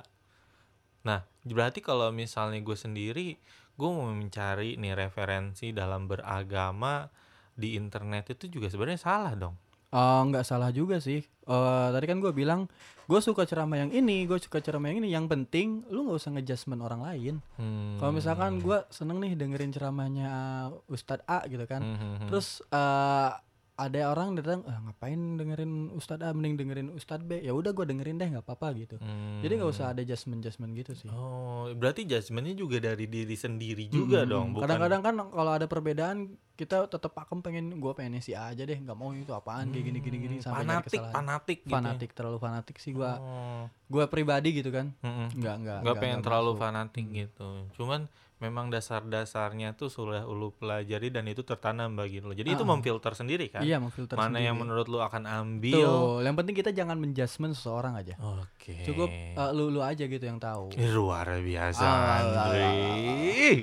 [SPEAKER 2] Nah berarti kalau misalnya gue sendiri gue mau mencari nih referensi dalam beragama di internet itu juga sebenarnya salah dong.
[SPEAKER 3] Eh, nggak salah juga sih Eh, tadi kan gue bilang gue suka ceramah yang ini gue suka ceramah yang ini yang penting lu nggak usah ngejudgement orang lain
[SPEAKER 2] Hmm.
[SPEAKER 3] kalau misalkan gue seneng nih dengerin ceramahnya eh, Ustadz A gitu kan
[SPEAKER 2] Hmm, hmm, hmm.
[SPEAKER 3] terus eh, ada orang datang "Ah, ngapain dengerin Ustadz A mending dengerin Ustadz B ya udah gue dengerin deh nggak apa-apa gitu
[SPEAKER 2] Hmm.
[SPEAKER 3] jadi nggak usah ada judgement judgement gitu sih
[SPEAKER 2] Oh, berarti judgementnya juga dari diri sendiri juga
[SPEAKER 3] Mm-mm.
[SPEAKER 2] dong, bukan
[SPEAKER 3] kadang-kadang kan kalau ada perbedaan kita tetap pakem pengen gue pengennya si A aja deh nggak mau itu apaan kan kayak gini gini gini
[SPEAKER 2] Hmm,
[SPEAKER 3] sampai nyari
[SPEAKER 2] fanatik,
[SPEAKER 3] kesalahan.
[SPEAKER 2] fanatik, gitu.
[SPEAKER 3] fanatik terlalu fanatik sih gua
[SPEAKER 2] Oh,
[SPEAKER 3] gua pribadi gitu kan
[SPEAKER 2] mm-mm.
[SPEAKER 3] nggak nggak
[SPEAKER 2] Nggak pengen terlalu
[SPEAKER 3] masuk.
[SPEAKER 2] fanatik gitu. Cuman memang dasar-dasarnya tuh sudah lu pelajari dan itu tertanam bagi lu. Jadi itu
[SPEAKER 3] Ah.
[SPEAKER 2] memfilter sendiri kan.
[SPEAKER 3] iya memfilter
[SPEAKER 2] Mana
[SPEAKER 3] sendiri.
[SPEAKER 2] yang menurut lu akan ambil.
[SPEAKER 3] Tuh, yang penting kita jangan menjudgment seseorang aja
[SPEAKER 2] Oke.
[SPEAKER 3] cukup eh, lu lu aja gitu yang tahu
[SPEAKER 2] Ini luar biasa,
[SPEAKER 3] Ah, ah, ah,
[SPEAKER 2] Andri.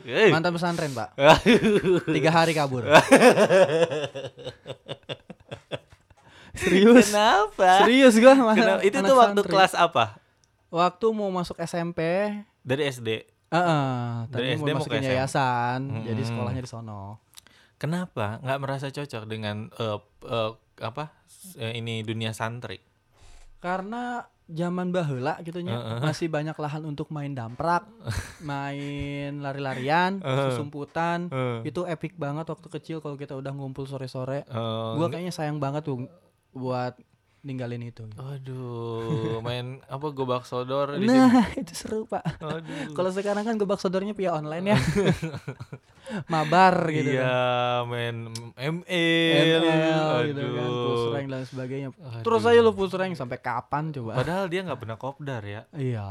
[SPEAKER 3] ah,
[SPEAKER 2] Eh.
[SPEAKER 3] mantan pesantren pak tiga hari kabur serius
[SPEAKER 2] Kenapa?
[SPEAKER 3] serius gua ma-
[SPEAKER 2] Kenapa? Itu
[SPEAKER 3] anak
[SPEAKER 2] tuh waktu
[SPEAKER 3] santri.
[SPEAKER 2] kelas apa?
[SPEAKER 3] waktu mau masuk SMP
[SPEAKER 2] Dari SD.
[SPEAKER 3] Heeh,
[SPEAKER 2] Dari
[SPEAKER 3] tadi
[SPEAKER 2] SD
[SPEAKER 3] mau
[SPEAKER 2] mau ke
[SPEAKER 3] masukin
[SPEAKER 2] SMP.
[SPEAKER 3] yayasan, jadi
[SPEAKER 2] Mm-mm.
[SPEAKER 3] sekolahnya di sono.
[SPEAKER 2] Kenapa nggak merasa cocok dengan eh, eh, apa s- eh, ini dunia santri?
[SPEAKER 3] Karena zaman baheula gitu nya masih banyak lahan untuk main damprak, main lari-larian, susumputan.
[SPEAKER 2] Heeh.
[SPEAKER 3] Itu epic banget waktu kecil kalau kita udah ngumpul sore-sore.
[SPEAKER 2] Eh,
[SPEAKER 3] Gua kayaknya sayang banget tuh buat ninggalin itu.
[SPEAKER 2] Aduh, main apa gobak sodor di sini.
[SPEAKER 3] Nah, itu seru, Pak.
[SPEAKER 2] Aduh.
[SPEAKER 3] Kalau sekarang kan gebak sodornya via online ya. Mabar gitu kan.
[SPEAKER 2] Iya, main ML.
[SPEAKER 3] ML
[SPEAKER 2] Aduh.
[SPEAKER 3] gitu kan, push rank dan sebagainya.
[SPEAKER 2] Aduh.
[SPEAKER 3] Terus aja lu push rank sampai kapan coba?
[SPEAKER 2] Padahal dia nggak pernah kopdar ya.
[SPEAKER 3] Iya.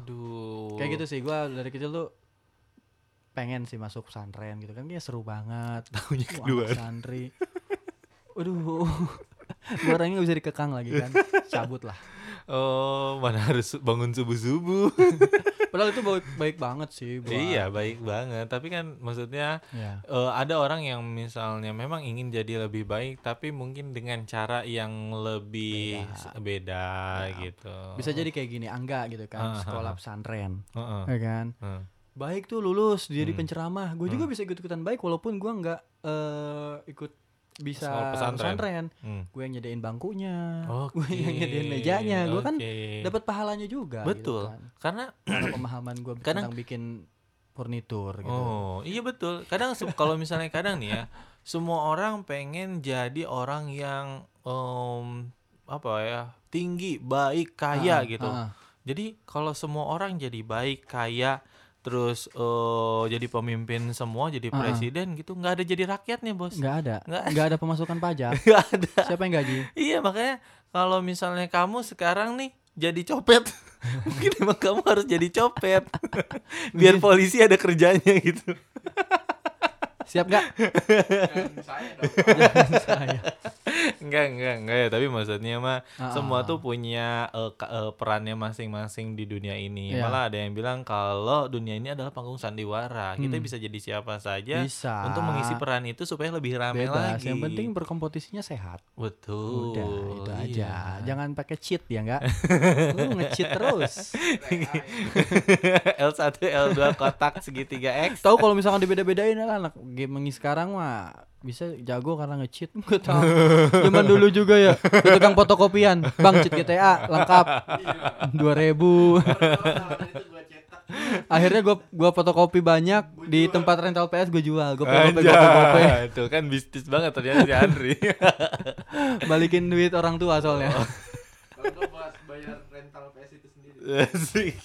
[SPEAKER 2] Aduh.
[SPEAKER 3] Kayak gitu sih gua dari kecil tuh pengen sih masuk pesantren gitu kan kayak seru banget.
[SPEAKER 2] Tahunnya
[SPEAKER 3] Wah,
[SPEAKER 2] kedua.
[SPEAKER 3] santri. Waduh. gua orangnya gak bisa dikekang lagi kan. Cabut lah.
[SPEAKER 2] Oh, mana harus bangun subuh-subaik.
[SPEAKER 3] Padahal itu baik, baik banget sih buat.
[SPEAKER 2] iya, baik banget. Tapi kan maksudnya
[SPEAKER 3] Iya.
[SPEAKER 2] eh, ada orang yang misalnya memang ingin jadi lebih baik tapi mungkin dengan cara yang lebih s- beda, gitu.
[SPEAKER 3] Ya. Bisa jadi kayak gini, Angga gitu
[SPEAKER 2] Ah,
[SPEAKER 3] kan, sekolah pesantren.
[SPEAKER 2] Heeh,
[SPEAKER 3] Ya kan?
[SPEAKER 2] heeh. Hmm.
[SPEAKER 3] baik tuh lulus jadi penceramah gue juga bisa ikut ikutan baik walaupun gue nggak eh, ikut bisa
[SPEAKER 2] Soal pesantren.
[SPEAKER 3] pesantren,
[SPEAKER 2] Hmm.
[SPEAKER 3] gue yang nyediain bangkunya
[SPEAKER 2] Oke.
[SPEAKER 3] gue yang nyediain mejanya gue kan
[SPEAKER 2] oke.
[SPEAKER 3] dapat pahalanya juga gitu
[SPEAKER 2] betul.
[SPEAKER 3] kan.
[SPEAKER 2] Karena
[SPEAKER 3] Karena pemahaman gue
[SPEAKER 2] Kadang-
[SPEAKER 3] tentang bikin furnitur gitu
[SPEAKER 2] Oh, iya betul. Kadang se- kalau misalnya kadang nih ya, semua orang pengen jadi orang yang em, apa ya, tinggi, baik, kaya
[SPEAKER 3] Ah,
[SPEAKER 2] gitu.
[SPEAKER 3] ah.
[SPEAKER 2] Jadi kalau semua orang jadi baik, kaya, terus eh, jadi pemimpin semua, jadi
[SPEAKER 3] Ah, ah.
[SPEAKER 2] presiden gitu, nggak ada jadi rakyatnya, Bos.
[SPEAKER 3] nggak ada
[SPEAKER 2] Nggak-
[SPEAKER 3] nggak ada pemasukan pajak
[SPEAKER 2] Nggak ada.
[SPEAKER 3] siapa yang gaji
[SPEAKER 2] Iya, makanya kalau misalnya kamu sekarang nih jadi copet, mungkin emang kamu harus jadi copet. Biar
[SPEAKER 3] Iya.
[SPEAKER 2] polisi ada kerjanya gitu.
[SPEAKER 3] siap nggak
[SPEAKER 4] Kan saya dong.
[SPEAKER 3] saya
[SPEAKER 2] Enggak, enggak, enggak ya. Tapi maksudnya mah
[SPEAKER 3] Ah,
[SPEAKER 2] semua
[SPEAKER 3] ah.
[SPEAKER 2] tuh punya eh, ka- eh, perannya masing-masing di dunia ini.
[SPEAKER 3] Iya.
[SPEAKER 2] Malah ada yang bilang kalau dunia ini adalah panggung sandiwara. Kita
[SPEAKER 3] Hmm.
[SPEAKER 2] bisa jadi siapa saja
[SPEAKER 3] Bisa.
[SPEAKER 2] ya untuk mengisi peran itu supaya lebih rame
[SPEAKER 3] bebas
[SPEAKER 2] lagi.
[SPEAKER 3] yang penting berkompetisinya sehat
[SPEAKER 2] betul.
[SPEAKER 3] Udah itu
[SPEAKER 2] Iya.
[SPEAKER 3] aja. Jangan pakai cheat ya enggak? Lu nge-cheat terus.
[SPEAKER 2] L1, L2 kotak segitiga X.
[SPEAKER 3] Tahu kalau misalkan dibeda-bedain lah anak gaming sekarang mah bisa jago karena nge-cheat. Enggak tahu. Zaman dulu juga ya. Di tukang fotokopian, Bang cheat GTA lengkap. 2000.
[SPEAKER 4] Pertama itu gue cetak.
[SPEAKER 3] Akhirnya gua gua fotokopi banyak di tempat rental PS gua jual. Gua fotokopi
[SPEAKER 2] Anjay.
[SPEAKER 3] gua fotokopi.
[SPEAKER 2] Tuh kan bisnis banget ternyata si Andri.
[SPEAKER 3] Balikin duit orang tua soalnya.
[SPEAKER 4] Kalau gue buat bayar rental PS itu sendiri.
[SPEAKER 2] Asik.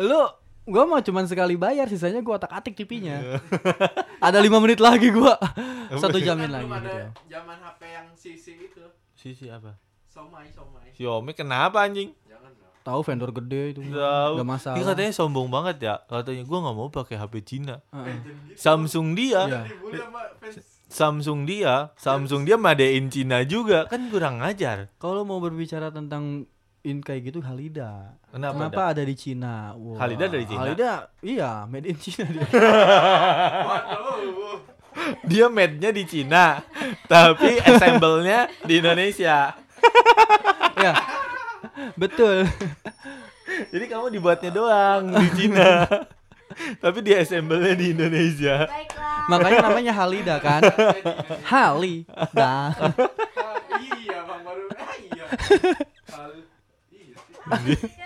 [SPEAKER 3] Lu gua mah cuman sekali bayar, sisanya gua otak-atik
[SPEAKER 2] Iya.
[SPEAKER 3] tipinya. Ada lima menit lagi gua. Satu jam
[SPEAKER 4] Kan
[SPEAKER 3] lagi
[SPEAKER 4] belum
[SPEAKER 3] gitu.
[SPEAKER 2] ya.
[SPEAKER 4] ada zaman HP yang CC itu.
[SPEAKER 2] Sisi apa?
[SPEAKER 4] Somai, somai.
[SPEAKER 2] Xiaomi kenapa anjing?
[SPEAKER 4] Jangan dong.
[SPEAKER 3] Tahu vendor gede itu.
[SPEAKER 2] Tahu.
[SPEAKER 3] Gak masalah.
[SPEAKER 4] Iya,
[SPEAKER 2] Dia katanya sombong banget ya. Katanya gua nggak mau pakai HP Cina.
[SPEAKER 3] Heeh.
[SPEAKER 4] Iya,
[SPEAKER 2] Samsung dia,
[SPEAKER 3] Iya.
[SPEAKER 4] Dibully sama fans.
[SPEAKER 2] Samsung dia, Samsung dia madein Cina juga. Kan kurang ngajar.
[SPEAKER 3] Kalau mau berbicara tentang in kayak gitu Halida.
[SPEAKER 2] Kenapa,
[SPEAKER 3] Kenapa ada di Cina? Wah,
[SPEAKER 2] Halida dari Cina?
[SPEAKER 3] Halida, iya, made in Cina dia.
[SPEAKER 4] Waduh.
[SPEAKER 2] Dia made-nya di Cina, tapi assemble-nya di Indonesia.
[SPEAKER 3] ya. Betul.
[SPEAKER 2] Jadi kamu dibuatnya doang di Cina. tapi di assemble-nya di Indonesia.
[SPEAKER 1] Baiklah.
[SPEAKER 3] Makanya namanya Halida kan. Halida.
[SPEAKER 4] Ah, iya bang baru. Ah, iya. Hal. Iya sih.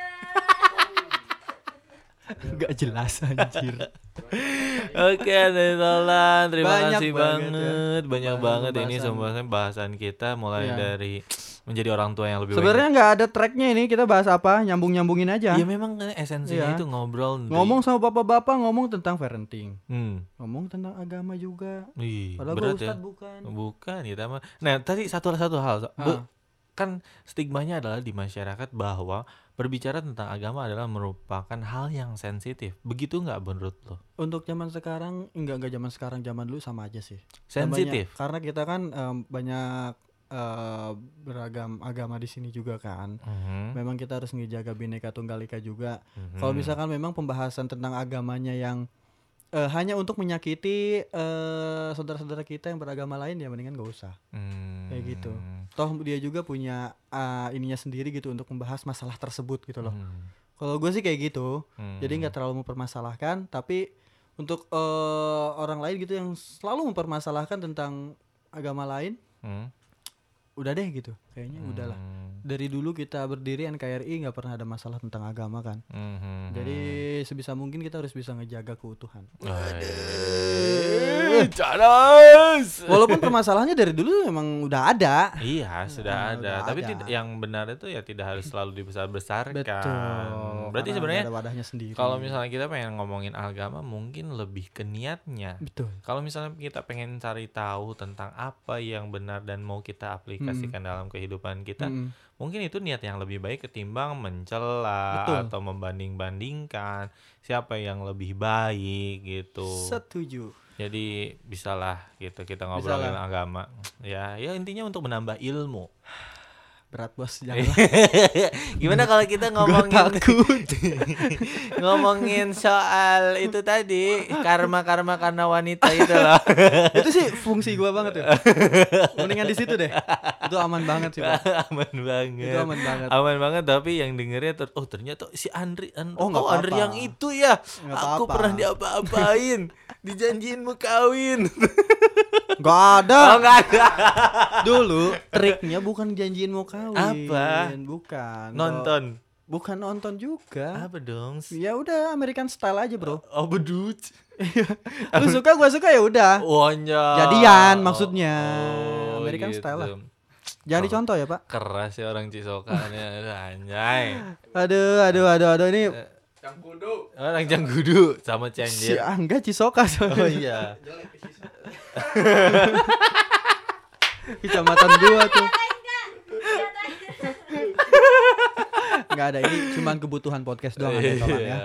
[SPEAKER 3] Gak jelas anjir.
[SPEAKER 2] Oke, Andre Nolan, terima
[SPEAKER 3] Banyak
[SPEAKER 2] kasih
[SPEAKER 3] banget
[SPEAKER 2] banget.
[SPEAKER 3] ya.
[SPEAKER 2] Banyak
[SPEAKER 3] Banyak
[SPEAKER 2] banget ini
[SPEAKER 3] pembahasan.
[SPEAKER 2] pembahasan bahasan kita mulai
[SPEAKER 3] Iya.
[SPEAKER 2] dari menjadi orang tua yang lebih baik.
[SPEAKER 3] Sebenarnya nggak ada tracknya ini, kita bahas apa? Nyambung-nyambungin aja.
[SPEAKER 2] Iya memang kan esensinya
[SPEAKER 3] Iya.
[SPEAKER 2] itu ngobrol. Ndri.
[SPEAKER 3] Ngomong sama bapak-bapak ngomong tentang parenting,
[SPEAKER 2] Hmm.
[SPEAKER 3] ngomong tentang agama juga.
[SPEAKER 2] Ih,
[SPEAKER 3] Padahal gue
[SPEAKER 2] berat ya.
[SPEAKER 3] ustad bukan.
[SPEAKER 2] Bukan kita mah. Nah, tadi satu satu hal. so- Bu-
[SPEAKER 3] Ah.
[SPEAKER 2] kan stigmanya adalah di masyarakat bahwa berbicara tentang agama adalah merupakan hal yang sensitif. Begitu nggak menurut lo?
[SPEAKER 3] Untuk zaman sekarang enggak enggak zaman sekarang zaman dulu sama aja sih.
[SPEAKER 2] Sensitif.
[SPEAKER 3] Banyak- karena kita kan em, banyak eh, beragam agama di sini juga kan.
[SPEAKER 2] Mhm,
[SPEAKER 3] Memang kita harus ngejaga bineka tunggal ika juga.
[SPEAKER 2] mhm.
[SPEAKER 3] Kalau misalkan memang pembahasan tentang agamanya yang eh, hanya untuk menyakiti eh, saudara-saudara kita yang beragama lain ya mendingan gak usah.
[SPEAKER 2] Hmm.
[SPEAKER 3] kayak gitu. Toh dia juga punya eh, ininya sendiri gitu untuk membahas masalah tersebut gitu loh.
[SPEAKER 2] Hmm,
[SPEAKER 3] Kalau gue sih kayak gitu.
[SPEAKER 2] hmm.
[SPEAKER 3] Jadi nggak terlalu mempermasalahkan, tapi untuk eh, orang lain gitu yang selalu mempermasalahkan tentang agama lain
[SPEAKER 2] Hmm,
[SPEAKER 3] udah deh gitu kayaknya udahlah
[SPEAKER 2] hmm.
[SPEAKER 3] dari dulu kita berdiri NKRI nggak pernah ada masalah tentang agama kan.
[SPEAKER 2] Mhm.
[SPEAKER 3] Jadi sebisa mungkin kita harus bisa ngejaga keutuhan.
[SPEAKER 2] Waduh, Charles.
[SPEAKER 3] Walaupun permasalahannya dari dulu emang udah ada.
[SPEAKER 2] Iya,
[SPEAKER 3] Ah,
[SPEAKER 2] sudah ada.
[SPEAKER 3] udah
[SPEAKER 2] Tapi
[SPEAKER 3] ada.
[SPEAKER 2] tidak- yang benar itu ya tidak harus selalu dibesar-besarkan. Kan. Berarti
[SPEAKER 3] karena
[SPEAKER 2] sebenarnya
[SPEAKER 3] ada wadahnya sendiri.
[SPEAKER 2] kalau misalnya kita pengen ngomongin agama mungkin lebih ke niatnya.
[SPEAKER 3] betul.
[SPEAKER 2] Kalau misalnya kita pengen cari tahu tentang apa yang benar dan mau kita
[SPEAKER 3] Hmm.
[SPEAKER 2] aplikasikan dalam kehidupan kita,
[SPEAKER 3] Mm-mm.
[SPEAKER 2] mungkin itu niat yang lebih baik ketimbang mencela
[SPEAKER 3] Betul.
[SPEAKER 2] atau membanding-bandingkan siapa yang lebih baik gitu.
[SPEAKER 3] Setuju.
[SPEAKER 2] Jadi bisalah gitu kita ngobrolin agama. Ya, ya intinya untuk menambah ilmu.
[SPEAKER 3] Berat bos
[SPEAKER 2] Iya.
[SPEAKER 3] jangan.
[SPEAKER 2] Gimana kalau kita
[SPEAKER 3] Gue
[SPEAKER 2] ngomongin
[SPEAKER 3] takut.
[SPEAKER 2] ngomongin soal itu tadi karma-karma karena wanita itu loh.
[SPEAKER 3] itu sih fungsi gua banget ya. Mendingan di situ deh. Itu aman banget sih. Pak.
[SPEAKER 2] aman banget.
[SPEAKER 3] Itu aman banget.
[SPEAKER 2] Aman banget tapi yang dengernya ter- oh ternyata si Andri Andri
[SPEAKER 3] Oh, nggak
[SPEAKER 2] Andri
[SPEAKER 3] apa-apa.
[SPEAKER 2] yang itu ya.
[SPEAKER 3] Nggak
[SPEAKER 2] Aku
[SPEAKER 3] apa-apa.
[SPEAKER 2] pernah diapa-apain. Dijanjiin mau kawin.
[SPEAKER 3] Gak ada.
[SPEAKER 2] oh enggak ada.
[SPEAKER 3] Dulu triknya bukan janjiin mau kawin.
[SPEAKER 2] Apa?
[SPEAKER 3] Bukan.
[SPEAKER 2] Nonton.
[SPEAKER 3] Bukan nonton juga.
[SPEAKER 2] Apa dong?
[SPEAKER 3] Ya udah American style aja, Bro.
[SPEAKER 2] Oh bedut.
[SPEAKER 3] Lu suka gua suka ya udah.
[SPEAKER 2] Wanya.
[SPEAKER 3] Jadian, maksudnya. American
[SPEAKER 2] gitu.
[SPEAKER 3] style lah. Jangan
[SPEAKER 2] oh.
[SPEAKER 3] dicontoh ya, Pak.
[SPEAKER 2] Keras ya orang Cisokannya Aduh, anjay.
[SPEAKER 3] Aduh, aduh, aduh, aduh ini
[SPEAKER 4] Cangkudu.
[SPEAKER 2] Orang Janggudu sama
[SPEAKER 3] si
[SPEAKER 2] Cianjir.
[SPEAKER 3] Angga Cisoka
[SPEAKER 2] Eh, iya. Oh
[SPEAKER 3] soalnya.
[SPEAKER 2] iya.
[SPEAKER 4] Jelek sih.
[SPEAKER 3] Kecamatan gua tuh. Nggak ada ini cuman kebutuhan podcast
[SPEAKER 2] Oh,
[SPEAKER 3] doang
[SPEAKER 2] iya,
[SPEAKER 3] ada kawan ya.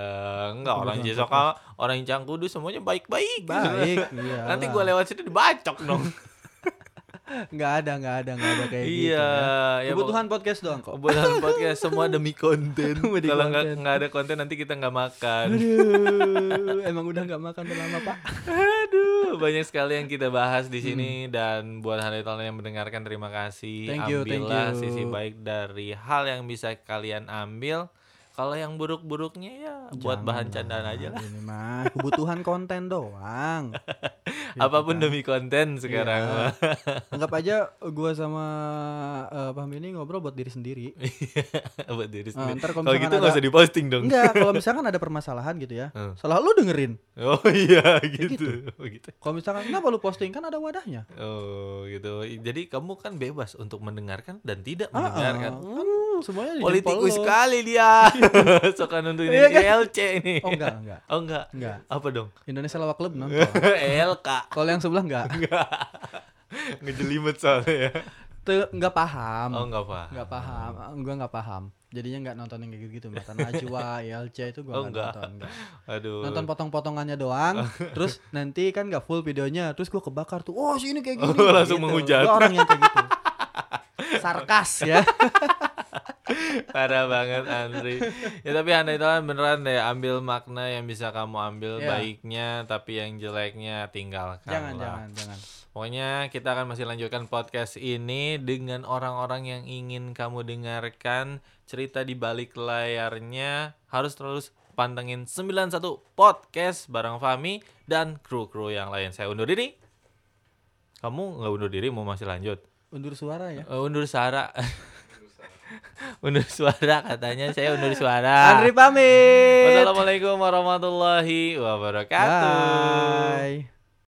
[SPEAKER 2] Enggak orang Cisoka, orang Janggudu semuanya baik-baik.
[SPEAKER 3] Baik, iya.
[SPEAKER 2] Nanti gue lewat sini dibacok dong.
[SPEAKER 3] Nggak ada, nggak ada, nggak ada kayak gitu.
[SPEAKER 2] iya. ya,
[SPEAKER 3] ya. Kebutuhan podcast doang
[SPEAKER 2] pokok-
[SPEAKER 3] kok.
[SPEAKER 2] kebutuhan podcast semua demi konten.
[SPEAKER 3] Demi
[SPEAKER 2] Kalau nggak
[SPEAKER 3] konten.
[SPEAKER 2] nggak ada konten nanti kita nggak makan.
[SPEAKER 3] Aduh, emang udah nggak makan udah lama, Pak.
[SPEAKER 2] Aduh, banyak sekali yang kita bahas di sini dan buat hadirin yang mendengarkan terima kasih.
[SPEAKER 3] Hmm. Thank you, thank
[SPEAKER 2] Ambillah
[SPEAKER 3] you.
[SPEAKER 2] sisi baik dari hal yang bisa kalian ambil. Kalau yang buruk-buruknya ya buat bahan candaan aja lah.
[SPEAKER 3] Ini mah kebutuhan konten doang. Iya.
[SPEAKER 2] Apapun demi konten sekarang.
[SPEAKER 3] Anggap aja gua sama eh, Pahmi ini ngobrol buat diri sendiri.
[SPEAKER 2] Iya. buat diri
[SPEAKER 3] Ah,
[SPEAKER 2] sendiri.
[SPEAKER 3] ntar kalau
[SPEAKER 2] Kalau gitu
[SPEAKER 3] misalkan
[SPEAKER 2] nggak
[SPEAKER 3] ada-
[SPEAKER 2] usah diposting dong.
[SPEAKER 3] Enggak, kalau misalkan ada permasalahan gitu ya.
[SPEAKER 2] Hmm.
[SPEAKER 3] Selalu dengerin.
[SPEAKER 2] Oh iya gitu. Oh, gitu.
[SPEAKER 3] Kalau misalkan kenapa lu posting kan ada wadahnya.
[SPEAKER 2] Oh gitu. Jadi kamu kan bebas untuk mendengarkan dan tidak
[SPEAKER 3] Ah,
[SPEAKER 2] mendengarkan.
[SPEAKER 3] ah. Hmm, semuanya di
[SPEAKER 2] Politikus
[SPEAKER 3] jempol lu.
[SPEAKER 2] kan? sekali dia. Suka nontonin
[SPEAKER 3] Iya kan?
[SPEAKER 2] ILC ini.
[SPEAKER 3] Oh enggak, enggak.
[SPEAKER 2] Oh enggak.
[SPEAKER 3] Enggak.
[SPEAKER 2] Apa dong?
[SPEAKER 3] Indonesia Lawa Club nonton.
[SPEAKER 2] LK.
[SPEAKER 3] Kalau yang sebelah enggak.
[SPEAKER 2] Ngejelimet soalnya ya.
[SPEAKER 3] Tuh, enggak paham.
[SPEAKER 2] Oh enggak apa.
[SPEAKER 3] Hmm. Enggak paham. Gua enggak paham. Jadinya enggak nonton yang kayak gitu-gitu. Mbak Tanah Ajwa, ILC itu gua
[SPEAKER 2] Oh,
[SPEAKER 3] enggak
[SPEAKER 2] enggak.
[SPEAKER 3] nonton. Enggak.
[SPEAKER 2] Aduh.
[SPEAKER 3] Nonton potong-potongannya doang. terus nanti kan enggak full videonya. Terus gua kebakar tuh. Oh, si ini kayak gini.
[SPEAKER 2] Oh, langsung menghujat.
[SPEAKER 3] Gua orang yang kayak gitu. Sarkas ya.
[SPEAKER 2] Parah banget Andri. Ya tapi Anda itu kan beneran deh ambil makna yang bisa kamu ambil
[SPEAKER 3] Iya.
[SPEAKER 2] baiknya tapi yang jeleknya tinggalkan.
[SPEAKER 3] jangan,
[SPEAKER 2] lah.
[SPEAKER 3] jangan, jangan.
[SPEAKER 2] Pokoknya kita akan masih lanjutkan podcast ini dengan orang-orang yang ingin kamu dengarkan cerita di balik layarnya harus terus pantengin 91 podcast bareng Fami dan kru-kru yang lain. Saya undur diri. Kamu nggak undur diri mau masih lanjut?
[SPEAKER 3] Undur suara ya.
[SPEAKER 2] Eh, undur suara. undur suara katanya saya undur suara.
[SPEAKER 3] Andri pamit.
[SPEAKER 2] Wassalamualaikum warahmatullahi wabarakatuh.
[SPEAKER 3] Bye.